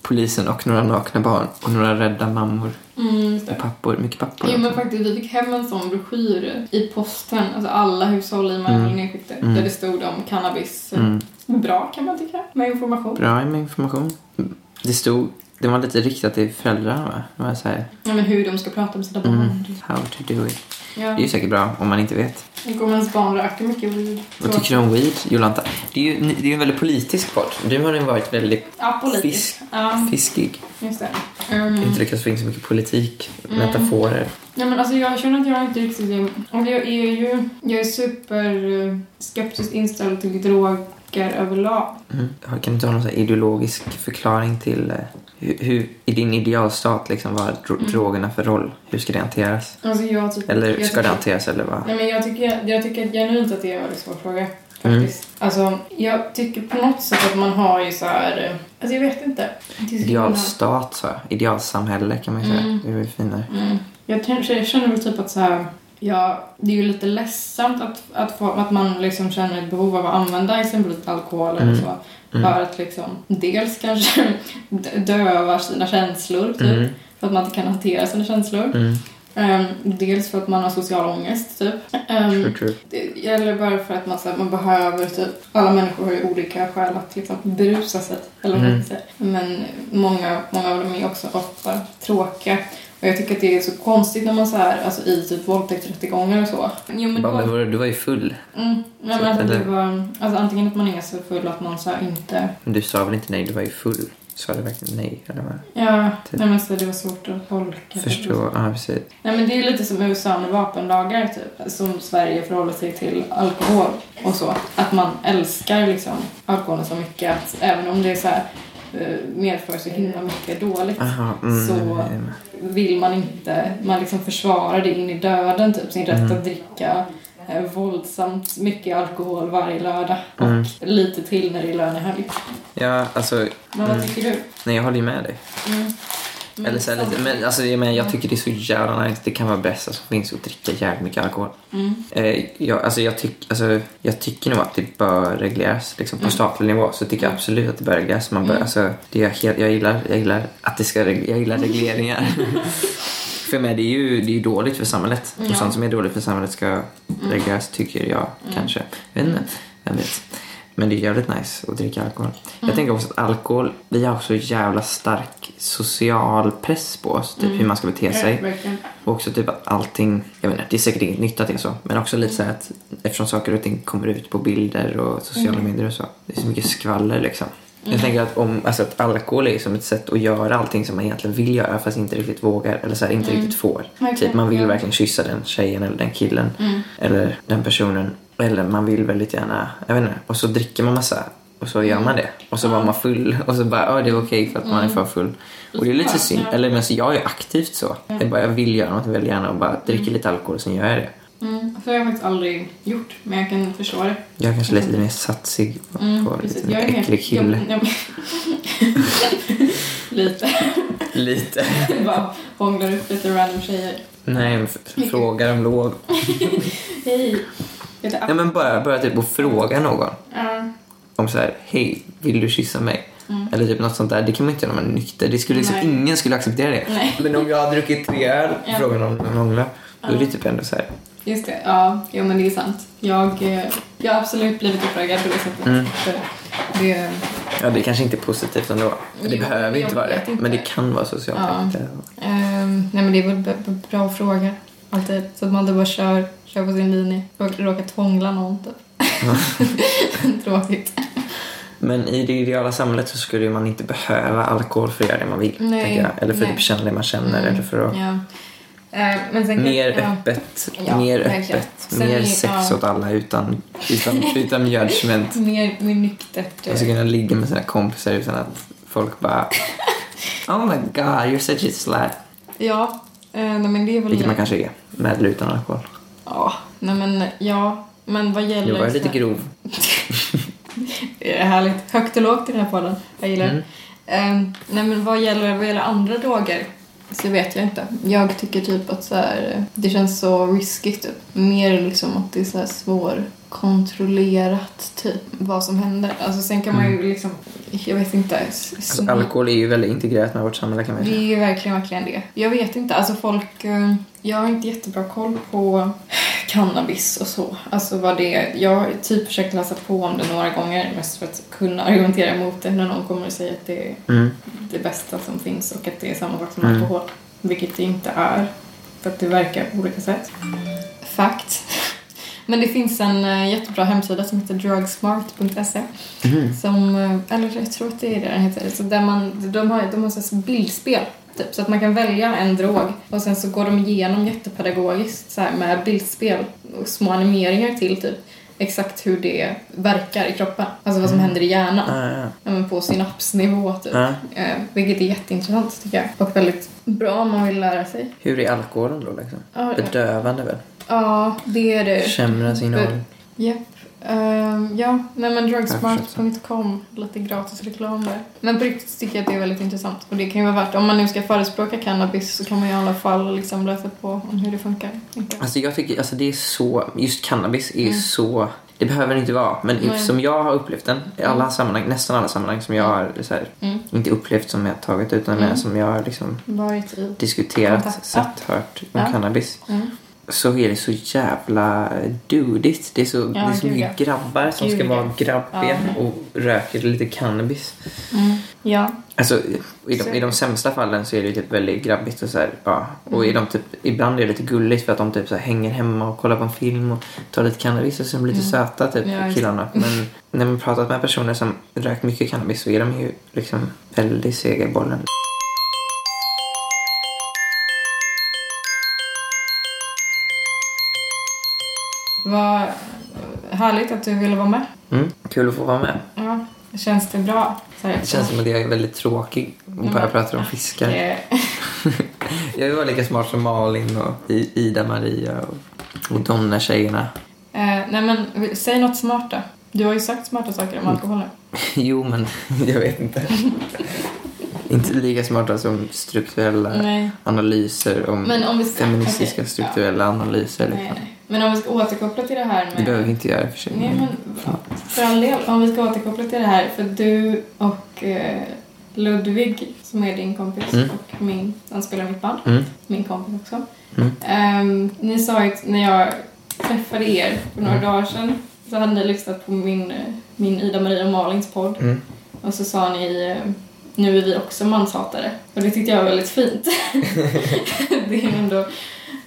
Speaker 2: Polisen och några nakna barn och några rädda mammor
Speaker 1: Mm, just det.
Speaker 2: och pappor. Mycket pappor.
Speaker 1: Jo men
Speaker 2: också.
Speaker 1: faktiskt, vi fick hem en sån broschyr i posten, alltså alla hushåll i
Speaker 2: Mm.
Speaker 1: Malmö mm.
Speaker 2: Mm.
Speaker 1: där det stod om cannabis. eh,
Speaker 2: Mm.
Speaker 1: Bra kan man tycka, med information.
Speaker 2: Bra med information. Mm. Det stod, det var lite riktat till föräldrar va? Det var så här,
Speaker 1: Ja, men hur de ska prata med sina
Speaker 2: mm,
Speaker 1: barn.
Speaker 2: how to do it.
Speaker 1: Ja.
Speaker 2: Det är ju säkert bra om man inte vet.
Speaker 1: Och om ens barn röker mycket weed.
Speaker 2: Vad tycker du om weed, Jolanta? Det är ju det är ju en väldigt politisk podd. Du har ju varit väldigt
Speaker 1: Ja, politiskt.
Speaker 2: Fisk.
Speaker 1: Ja,
Speaker 2: fiskig.
Speaker 1: just det. Um,
Speaker 2: Inte lyckats få in så mycket politik,
Speaker 1: Mm.
Speaker 2: metaforer.
Speaker 1: Nej men alltså jag känner att jag inte riktigt är... Och jag är ju... Jag är super eh, skeptiskt inställd till droger överlag.
Speaker 2: Mm. Har- Kan du ta någon så här ideologisk förklaring till eh, hur, hur i din idealstat, liksom, vad har dro-
Speaker 1: Mm.
Speaker 2: drogerna för roll? Hur ska det hanteras?
Speaker 1: Alltså jag tycker...
Speaker 2: Eller
Speaker 1: jag
Speaker 2: ska det
Speaker 1: tycker-
Speaker 2: hanteras eller vad?
Speaker 1: Nej men jag tycker, jag tycker genuint att det är en väldigt svår fråga.
Speaker 2: Mm.
Speaker 1: Faktiskt. Alltså jag tycker på något sätt att man har ju så här... eh, Alltså jag vet inte. Det är så himla-
Speaker 2: Idealstat, så här. Idealsamhälle kan man ju säga.
Speaker 1: Mm.
Speaker 2: Det är väl finare.
Speaker 1: Mm. Jag, kanske, jag känner väl typ att så här, ja, det är ju lite ledsamt att, att, få, att man liksom känner ett behov av att använda exempelvis alkohol eller
Speaker 2: Mm.
Speaker 1: så.
Speaker 2: Mm.
Speaker 1: För att liksom dels kanske [laughs] dö- döva sina känslor, typ.
Speaker 2: Mm.
Speaker 1: För att man inte kan hantera sina känslor.
Speaker 2: Mm.
Speaker 1: Ehm, dels för att man har social ångest, typ. Ehm,
Speaker 2: True, true.
Speaker 1: det- Eller bara för att man, så här, man behöver, typ, alla människor har ju olika skäl att liksom, berusa sig. Eller vad man
Speaker 2: Mm.
Speaker 1: ska säga. Men många, många av dem är också ofta tråkiga. Och jag tycker att det är så konstigt när man så här, alltså i typ våldtäktsrättegångar och så. Jo men, det
Speaker 2: Bara,
Speaker 1: var,
Speaker 2: men vadå, du var ju full.
Speaker 1: mm, nej,
Speaker 2: Så
Speaker 1: men
Speaker 2: att
Speaker 1: alltså, det
Speaker 2: eller-
Speaker 1: var, alltså antingen att man är så full att man så här, inte
Speaker 2: Men Du sa väl inte nej, du var ju full. sa du verkligen nej? Eller vad?
Speaker 1: Ja,
Speaker 2: Typ.
Speaker 1: nej men så det var svårt att tolka.
Speaker 2: Förstå, ja ah, precis.
Speaker 1: Nej men det är lite som USA med vapenlagar typ. Som Sverige förhåller sig till alkohol och så. Att man älskar liksom alkoholen så mycket att även om det är så här eh, medför så himla mycket dåligt
Speaker 2: Aha, mm,
Speaker 1: Så-
Speaker 2: mm,
Speaker 1: vill man inte, man liksom försvarar det in i döden typ sin rätt
Speaker 2: Mm.
Speaker 1: att dricka eh, våldsamt mycket alkohol varje lördag och
Speaker 2: Mm.
Speaker 1: lite till när det är lönehelg.
Speaker 2: Ja, alltså,
Speaker 1: Men vad
Speaker 2: Mm.
Speaker 1: tycker du?
Speaker 2: nej jag håller ju med dig.
Speaker 1: Mm. Men
Speaker 2: Eller så här lite, men alltså, jag, menar, jag tycker det är så jävla nice. Det kan vara bästa som finns att dricka jävligt mycket alkohol.
Speaker 1: Mm.
Speaker 2: Eh, jag, alltså, jag, tyck, alltså, jag tycker nog att det bör regleras. Liksom, på
Speaker 1: Mm.
Speaker 2: statlig nivå så tycker jag absolut att det bör regleras. Man bör,
Speaker 1: Mm.
Speaker 2: alltså, det är jag, helt, jag, gillar, jag gillar att det ska reg- jag gillar regleringar.
Speaker 1: [laughs]
Speaker 2: för mig det är ju det är ju dåligt för samhället.
Speaker 1: Ja. Mm.
Speaker 2: Och sånt som är dåligt för samhället ska regleras tycker jag kanske. Jag vet inte. Vem vet. Men det är jävligt nice att dricka alkohol.
Speaker 1: Mm.
Speaker 2: Jag tänker också att alkohol, vi har också jävla stark social press på oss.
Speaker 1: Mm.
Speaker 2: Typ hur man ska bete sig.
Speaker 1: Ja, verkligen.
Speaker 2: Och också typ att allting, jag menar det är säkert inget nytt att det är så. Men också lite så här att eftersom saker och ting kommer ut på bilder och sociala medier och så. Det är så mycket skvaller liksom. Jag tänker att, om, alltså att alkohol är som ett sätt att göra allting som man egentligen vill göra fast inte riktigt vågar eller så här, inte riktigt får.
Speaker 1: Verkligen,
Speaker 2: Typ man vill
Speaker 1: ja.
Speaker 2: verkligen kyssa den tjejen eller den killen
Speaker 1: Mm.
Speaker 2: eller den personen. Eller man vill väldigt gärna, jag vet inte. Och så dricker man massa och så gör
Speaker 1: Mm.
Speaker 2: man det. Och så var man full och så bara, ja det var okej för att man är för full. Och det är lite synd.
Speaker 1: Ja.
Speaker 2: Eller men så jag är aktivt så. Det är bara, jag vill göra något väldigt gärna och bara dricker lite alkohol och sen gör jag det.
Speaker 1: Mm. Så har jag faktiskt aldrig gjort, men jag kan förstå det.
Speaker 2: Jag är kanske lite mer satsig på,
Speaker 1: Mm,
Speaker 2: på
Speaker 1: precis.
Speaker 2: lite
Speaker 1: Jag
Speaker 2: mer
Speaker 1: är mer-
Speaker 2: äcklig kille.
Speaker 1: Jag, [laughs] jag, lite.
Speaker 2: Lite.
Speaker 1: Bara hånglar upp lite random tjejer.
Speaker 2: Nej, men f- frågar om lov.
Speaker 1: Hej! Jag heter
Speaker 2: Nej men bara börja typ att fråga någon.
Speaker 1: Ja.
Speaker 2: om så här, hej, vill du kyssa mig? Eller typ något sånt där. Det kan man inte göra när man är nykter. Det skulle liksom,
Speaker 1: Mm. Nej.
Speaker 2: ingen skulle acceptera det.
Speaker 1: Nej.
Speaker 2: Men om jag har druckit tre öl,
Speaker 1: Ja.
Speaker 2: frågan om någon hånglar, då är det typ ändå så här.
Speaker 1: Just det, ja. Jo men det är sant. Jag, eh, jag har absolut blivit uppfrågad på det sättet.
Speaker 2: Mm.
Speaker 1: För Det,
Speaker 2: Ja, det kanske inte är positivt ändå. Det
Speaker 1: Jo,
Speaker 2: behöver
Speaker 1: jag
Speaker 2: inte vara det.
Speaker 1: vet inte.
Speaker 2: Men det kan vara socialt.
Speaker 1: Ja.
Speaker 2: inte?
Speaker 1: ehm, nej men det är väl b- b- bra fråga. Alltid. Så att man inte bara kör, kör på sin linje. Råkar, råkar tvångla någon typ. [laughs] Tråkigt.
Speaker 2: Men i det ideala samhället så skulle man inte behöva alkohol för att göra det man vill.
Speaker 1: Nej,
Speaker 2: tänker jag. Eller för att
Speaker 1: nej.
Speaker 2: typ känna det man känner. Eller för att...
Speaker 1: Ja. Eh, men sen kan-
Speaker 2: Mer
Speaker 1: ja.
Speaker 2: öppet,
Speaker 1: Ja,
Speaker 2: mer
Speaker 1: verkligen.
Speaker 2: öppet,
Speaker 1: Sen är-
Speaker 2: mer sex
Speaker 1: ja.
Speaker 2: åt alla utan, utan,
Speaker 1: [laughs]
Speaker 2: utan judgment.
Speaker 1: Mer, mer nyktert. eh,
Speaker 2: Jag skulle kunna ligga med sina kompisar utan att
Speaker 1: [laughs]
Speaker 2: folk bara Oh my god, you're such a slut.
Speaker 1: Ja, eh, nej men det är väl...
Speaker 2: Vilket man kanske är, med eller utan alkohol.
Speaker 1: Ja, nej men ja. Men vad gäller...
Speaker 2: Nu var jag
Speaker 1: så
Speaker 2: lite
Speaker 1: här-
Speaker 2: grov.
Speaker 1: Det är härligt. Högt och lågt i den här podden. Jag gillar det.
Speaker 2: Mm.
Speaker 1: Ehm, nej men vad gäller, vad gäller andra droger så vet jag inte. Jag tycker typ att så här, det känns så riskigt typ. Mer liksom att det är så här svårkontrollerat typ vad som händer. Alltså sen kan man ju liksom, jag vet inte. s-
Speaker 2: Mm. Alltså, alkohol är ju väldigt integrerat med vårt samhälle kan man ju
Speaker 1: det
Speaker 2: säga.
Speaker 1: är ju verkligen, verkligen det. Jag vet inte, alltså folk... eh, Jag har inte jättebra koll på cannabis och så. Alltså vad det är. Jag har typ försökt läsa på om det några gånger mest för att kunna argumentera emot det när någon kommer och säger att det är
Speaker 2: Mm.
Speaker 1: det bästa som finns och att det är samma sak som
Speaker 2: Mm.
Speaker 1: alkohol. Vilket det inte är. För att det verkar på olika sätt. Fakt. Men det finns en eh, jättebra hemsida som heter drugsmart.se
Speaker 2: Mhm.
Speaker 1: som, eh, eller jag tror att det är det den heter, så där man, de har, de har så här bildspel. Typ, så att man kan välja en drog och sen så går de igenom jättepedagogiskt så här, med bildspel och små animeringar till typ exakt hur det verkar i kroppen. Alltså vad som händer i hjärnan.
Speaker 2: Mm. Ja, ja.
Speaker 1: Ja, men på synapsnivå typ.
Speaker 2: Ja.
Speaker 1: Eh, vilket är jätteintressant tycker jag. Och väldigt bra om man vill lära sig.
Speaker 2: Hur är alkoholen då liksom?
Speaker 1: Ja, ja.
Speaker 2: Bedövande väl?
Speaker 1: Ja, det är det.
Speaker 2: Sämre signaler.
Speaker 1: Japp. Ehm, ja, nej men
Speaker 2: Jag
Speaker 1: drugsmart.com, lite gratis reklam där. Men på riktigt tycker jag att det är väldigt intressant och det kan ju vara värt, om man nu ska förespråka cannabis så kan man ju i alla fall liksom läsa på om hur det funkar. tänker jag.
Speaker 2: Alltså jag tycker, alltså det är så, just cannabis är så, det behöver det inte vara, men
Speaker 1: Mm. Nej.
Speaker 2: som jag har upplevt den, i alla sammanhang, nästan alla sammanhang som jag har så här,
Speaker 1: Mm.
Speaker 2: inte upplevt som jag har tagit utan
Speaker 1: Mm.
Speaker 2: som jag har liksom
Speaker 1: Varit i. Kontakt.
Speaker 2: diskuterat, sett, hört om
Speaker 1: Ja.
Speaker 2: cannabis
Speaker 1: Mm.
Speaker 2: så är det så jävla dudigt. Det är så, det är så
Speaker 1: gud,
Speaker 2: mycket grabbar som
Speaker 1: Gud,
Speaker 2: ska
Speaker 1: ja.
Speaker 2: vara grabbiga
Speaker 1: Ja.
Speaker 2: och röker lite cannabis.
Speaker 1: Mm. Ja.
Speaker 2: Alltså, i, de, I de sämsta fallen så är det ju typ väldigt grabbigt och så här, ja. Och
Speaker 1: Mm.
Speaker 2: i de typ, ibland är det lite gulligt för att de typ så här hänger hemma och kollar på en film och tar lite cannabis och sen blir lite
Speaker 1: Mm.
Speaker 2: söta typ
Speaker 1: Ja, just-
Speaker 2: killarna. Men när man pratat med personer som rökt mycket cannabis så är de ju liksom väldigt sega i bollen.
Speaker 1: Vad härligt att du ville vara med.
Speaker 2: Mm. Kul att få vara med.
Speaker 1: Ja. Känns det bra? Så här,
Speaker 2: Det känns som att jag är väldigt tråkig och bara
Speaker 1: men-
Speaker 2: pratar om fiskar.
Speaker 1: det, [laughs]
Speaker 2: Jag var lika smart som Malin och I- Ida-Maria och, och de där tjejerna.
Speaker 1: eh, Nej men vi- säg något smart då. Du har ju sagt smarta saker om
Speaker 2: Mm.
Speaker 1: alkohol nu.
Speaker 2: Jo, men [laughs] jag vet inte. inte lika smarta som strukturella
Speaker 1: Nej.
Speaker 2: analyser om
Speaker 1: Men om vi ska-
Speaker 2: feministiska
Speaker 1: okej, ja.
Speaker 2: strukturella analyser. Liksom.
Speaker 1: Nej, nej. Men om vi ska återkoppla till det här med...
Speaker 2: Det behöver vi inte göra i och för sig.
Speaker 1: Nej, men för all del, om vi ska återkoppla till det här, för du och eh, Ludvig, som är din kompis
Speaker 2: Mm.
Speaker 1: och min, han spelar i mitt band,
Speaker 2: Mm.
Speaker 1: min kompis också.
Speaker 2: Mm.
Speaker 1: Ehm, ni sa ju att när jag träffade er för några
Speaker 2: Mm.
Speaker 1: dagar sedan så hade ni lyssnat på min, eh, min Ida Maria och Malins podd
Speaker 2: Mm.
Speaker 1: och så sa ni eh, nu är vi också manshatare. Och det tyckte jag var väldigt
Speaker 2: [laughs]
Speaker 1: fint. det är ändå,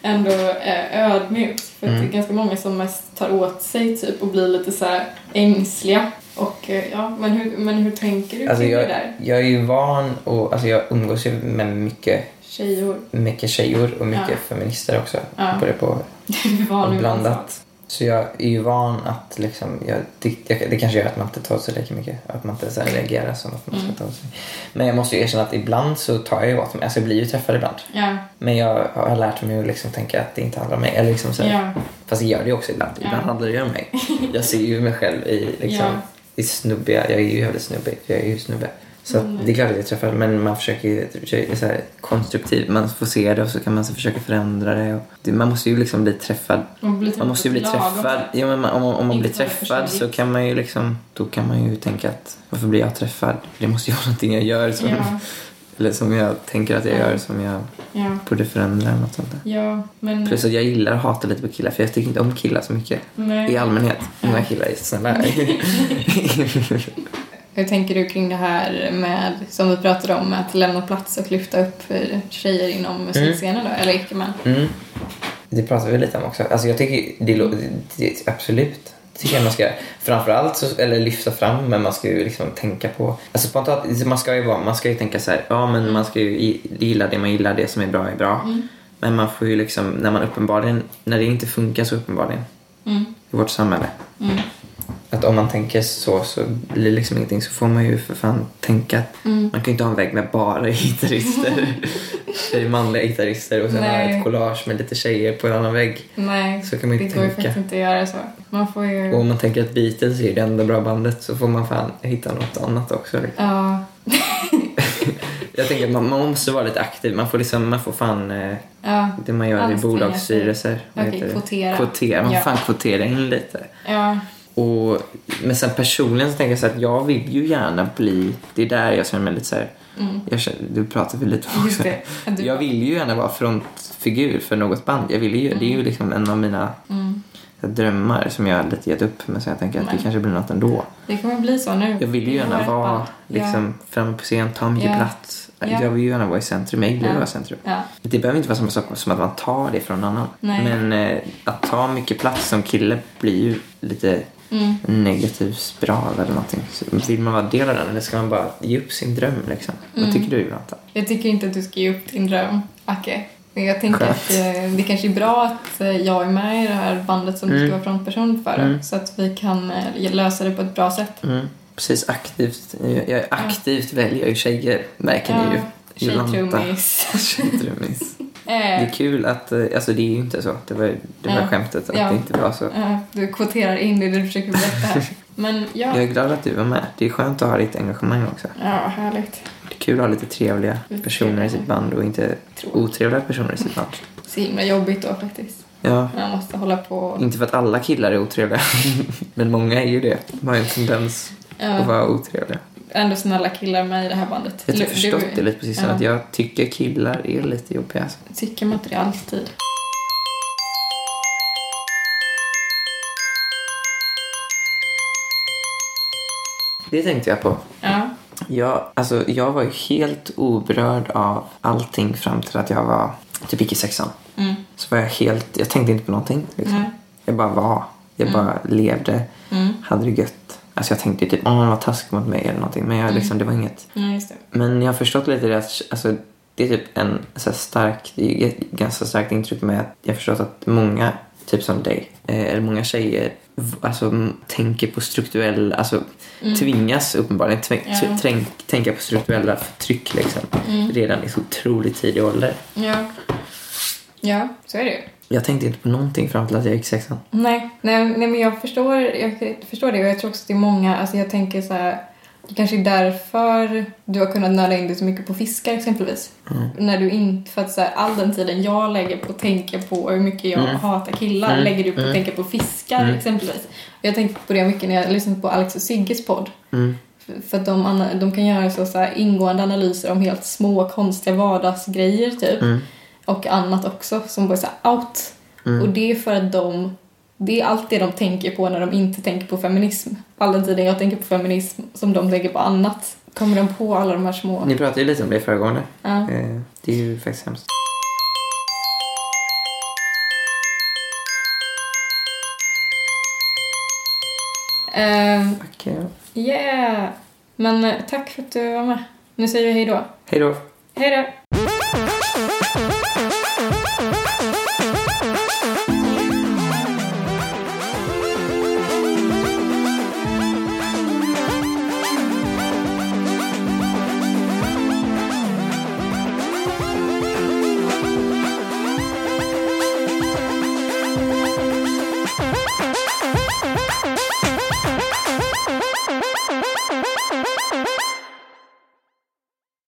Speaker 1: ändå eh, ödmjukt. För att
Speaker 2: Mm.
Speaker 1: det är ganska många som mest tar åt sig typ och blir lite så här ängsliga. Och eh, ja, men hur, men hur tänker du
Speaker 2: Alltså,
Speaker 1: kring
Speaker 2: jag,
Speaker 1: det där?
Speaker 2: jag är ju van och alltså, jag umgås ju med mycket,
Speaker 1: Tjejor.
Speaker 2: mycket tjejor och mycket
Speaker 1: Ja.
Speaker 2: feminister också.
Speaker 1: Ja.
Speaker 2: Både på
Speaker 1: [laughs] Du var nu
Speaker 2: blandat. Så jag är ju van att liksom, jag, det, jag, det kanske gör att man inte tar åt sig lika mycket. Att man inte så här reagerar som att man ska
Speaker 1: Mm.
Speaker 2: ta åt sig. Men jag måste ju erkänna att ibland så tar jag ju åt mig. Alltså jag blir ju träffad ibland.
Speaker 1: Ja,
Speaker 2: Men jag har lärt mig att liksom tänka att det inte handlar om mig. Eller liksom så här,
Speaker 1: ja,
Speaker 2: Fast jag gör det ju också ibland. Ibland
Speaker 1: Ja.
Speaker 2: handlar det ju om mig. Jag ser ju mig själv i, liksom,
Speaker 1: Ja.
Speaker 2: i snubbiga... Jag är ju jävligt snubbig. för Jag är ju snubbe. Så att
Speaker 1: Mm.
Speaker 2: det är klart att jag träffar men man försöker ju försöker- så här, konstruktivt. Man får se det och så kan man så försöka förändra det. Och det. Man måste ju liksom bli träffad
Speaker 1: man, blir typ
Speaker 2: man måste ju bli
Speaker 1: lagom.
Speaker 2: träffad. Ja, men man, om, om man
Speaker 1: Inte
Speaker 2: blir
Speaker 1: bara
Speaker 2: träffad så
Speaker 1: personligt.
Speaker 2: kan man ju liksom... Då kan man ju tänka att varför blir jag träffad? Det måste ju vara [laughs] någonting jag gör som,
Speaker 1: Ja,
Speaker 2: eller som jag tänker att jag
Speaker 1: Ja.
Speaker 2: gör som jag
Speaker 1: ja,
Speaker 2: borde förändra eller något sånt där.
Speaker 1: ja, men...
Speaker 2: Plus att jag gillar att hata lite på killar för jag tycker inte om killar så mycket.
Speaker 1: nej.
Speaker 2: I allmänhet. Många killar är
Speaker 1: [laughs]
Speaker 2: snälla. [laughs]
Speaker 1: Hur tänker du kring det här med, som vi pratade om, med att lämna plats och lyfta upp för tjejer inom musikscenen då, eller icke män?
Speaker 2: mm. Det pratar vi lite om också. Alltså jag tycker det, lå- det, absolut. Det tycker jag man ska framförallt så, eller lyfta fram men man ska ju liksom tänka på alltså spontant man ska ju vara man ska ju tänka så här ja men man ska ju i- gilla det man gillar det som är bra är bra.
Speaker 1: Mm.
Speaker 2: Men man får ju liksom när man uppenbarligen när det inte funkar så uppenbarligen
Speaker 1: Mm.
Speaker 2: i vårt samhälle
Speaker 1: Mm.
Speaker 2: att om man tänker så så blir det liksom ingenting så får man ju för fan tänka att
Speaker 1: Mm.
Speaker 2: Man kan ju inte ha en vägg med bara
Speaker 1: [laughs]
Speaker 2: gitarrister. det är manliga gitarrister och sen ha
Speaker 1: Nej.
Speaker 2: ett collage med lite tjejer på en annan vägg.
Speaker 1: Nej,
Speaker 2: Så kan man ju
Speaker 1: det går ju
Speaker 2: inte tänka.
Speaker 1: faktiskt inte att göra så. Man får
Speaker 2: Och
Speaker 1: ju...
Speaker 2: om man tänker att Beatles är det enda bra bandet så får man fan hitta något annat också. liksom.
Speaker 1: Ja,
Speaker 2: Jag tänker att man, man måste vara lite aktiv. Man får liksom, man får fan eh,
Speaker 1: ja,
Speaker 2: det man gör i
Speaker 1: Anstränga sig.
Speaker 2: bolagsstyrelser. Vad
Speaker 1: Okej,
Speaker 2: heter det?
Speaker 1: kvotera.
Speaker 2: Kvotera. Man får
Speaker 1: Ja.
Speaker 2: fan kvotera in lite.
Speaker 1: ja,
Speaker 2: Och, men sen personligen så tänker jag så här att jag vill ju gärna bli, det är där jag känner mig lite så här,
Speaker 1: Mm.
Speaker 2: jag känner, du pratar väl lite om
Speaker 1: just
Speaker 2: också.
Speaker 1: det. Att Du,
Speaker 2: Jag vill ju gärna vara frontfigur för något band. Jag vill ju, Det är ju liksom en av mina
Speaker 1: mm.
Speaker 2: drömmar som jag lite gett upp men som jag tänker att det
Speaker 1: Men-
Speaker 2: kanske blir något ändå.
Speaker 1: Det kommer bli så nu.
Speaker 2: Jag vill ju
Speaker 1: Vi har
Speaker 2: gärna
Speaker 1: ett
Speaker 2: vara
Speaker 1: band.
Speaker 2: liksom, framme på scen, ta mycket
Speaker 1: Ja.
Speaker 2: plats.
Speaker 1: Ja.
Speaker 2: Jag vill ju gärna vara i centrum. Jag gillar att
Speaker 1: Ja.
Speaker 2: vara i centrum.
Speaker 1: Ja. ja.
Speaker 2: Det behöver inte vara samma sak som att man tar det från någon annan.
Speaker 1: Nej.
Speaker 2: Men eh, att ta mycket plats som kille blir ju lite
Speaker 1: Mm.
Speaker 2: negativ spiral eller någonting. Så vill man vara del av den eller ska man bara ge upp sin dröm liksom?
Speaker 1: Mm.
Speaker 2: Vad tycker du Jolanta?
Speaker 1: Jag tycker inte att du ska ge upp din dröm, Acke. Men Jag tänker
Speaker 2: Skönt.
Speaker 1: att eh, det kanske är bra att eh, jag är med i det här bandet som du
Speaker 2: Mm.
Speaker 1: ska vara frontperson för.
Speaker 2: Mm.
Speaker 1: Så att vi kan eh, lösa det på ett bra sätt.
Speaker 2: Mm, precis, aktivt. Jag jag aktivt väljer ju tjejer, märker ni ju. Jolanta.
Speaker 1: Tjejtrummis.
Speaker 2: [laughs] Tjejtrummis. Det
Speaker 1: [laughs] Eh,
Speaker 2: är kul att, eh, alltså det är ju inte så. Det var, det var
Speaker 1: Ja.
Speaker 2: skämtet att
Speaker 1: Ja.
Speaker 2: det inte var så.
Speaker 1: eh, du kvoterar in det du försöker berätta här. Men ja,
Speaker 2: Jag är glad att du var med. Det är skönt att ha ditt engagemang också.
Speaker 1: ja härligt.
Speaker 2: Det är kul att ha lite trevliga
Speaker 1: Lite
Speaker 2: personer i sitt
Speaker 1: trevliga.
Speaker 2: band och inte
Speaker 1: Tråkigt.
Speaker 2: otrevliga personer i sitt band.
Speaker 1: Så himla jobbigt då faktiskt.
Speaker 2: Ja,
Speaker 1: Man måste hålla på och...
Speaker 2: inte för att alla killar är otrevliga, [laughs] men många är ju det. De har ju en tendens att
Speaker 1: Ja,
Speaker 2: vara otrevliga.
Speaker 1: ändå snälla killar med i det här bandet.
Speaker 2: Jag har
Speaker 1: Lu-
Speaker 2: typ förstått det lite på sistone,
Speaker 1: ja.
Speaker 2: att jag tycker killar är lite jobbiga. alltså.
Speaker 1: Tycker man inte det alltid?
Speaker 2: Det tänkte jag på.
Speaker 1: Ja.
Speaker 2: Jag, alltså, jag var ju helt oberörd av allting fram till att jag var typ gick i sexan.
Speaker 1: Mm.
Speaker 2: Så var jag helt, jag tänkte inte på någonting. Liksom.
Speaker 1: Nej.
Speaker 2: Jag bara var. Jag bara levde.
Speaker 1: Mm.
Speaker 2: Hade det gött. Alltså jag tänkte ju typ, åh han var taskig mot mig eller någonting. Men jag,
Speaker 1: Mm.
Speaker 2: liksom, det var inget.
Speaker 1: Nej, just det.
Speaker 2: Men jag har förstått lite det att alltså, det är typ en så här stark, det är ju ett ganska starkt intryck med att jag har förstått att många, typ som dig, eh, eller många tjejer v- alltså, m- tänker på strukturell, alltså tvingas uppenbarligen tväng,
Speaker 1: Mm. Ja. Mm.
Speaker 2: tr- tränk, tänka på strukturella förtryck liksom redan i så otroligt tidig ålder.
Speaker 1: Ja. Ja, så är det ju.
Speaker 2: Jag tänkte inte på någonting fram till att jag gick sexan.
Speaker 1: Nej, nej, nej men jag förstår, jag förstår det och jag tror också att det är många, alltså jag tänker så här, det kanske är därför du har kunnat nörda in dig så mycket på fiskar exempelvis. När du inte, för att så här, all den tiden jag lägger på att tänka på hur mycket jag
Speaker 2: Mm.
Speaker 1: hatar killar
Speaker 2: Mm.
Speaker 1: lägger du på att
Speaker 2: Mm.
Speaker 1: tänka på fiskar
Speaker 2: Mm.
Speaker 1: exempelvis. Och jag tänkte på det mycket när jag lyssnade på Alex och Sigges podd.
Speaker 2: Mm.
Speaker 1: För- För att de, ana- de kan göra så, så här ingående analyser om helt små konstiga vardagsgrejer typ.
Speaker 2: Mm.
Speaker 1: Och annat också som bara är så här out. Och det är för att de, det är allt det de tänker på när de inte tänker på feminism. All den tiden jag tänker på feminism som de tänker på annat. Kommer de på alla de här små...
Speaker 2: Ni pratade ju lite om det i föregående.
Speaker 1: Ja.
Speaker 2: Eh, det är ju faktiskt hemskt.
Speaker 1: Ehm,
Speaker 2: Okej.
Speaker 1: eh, yeah! Men eh, tack för att du var med. Nu säger vi hej då.
Speaker 2: Hej då.
Speaker 1: Hej då!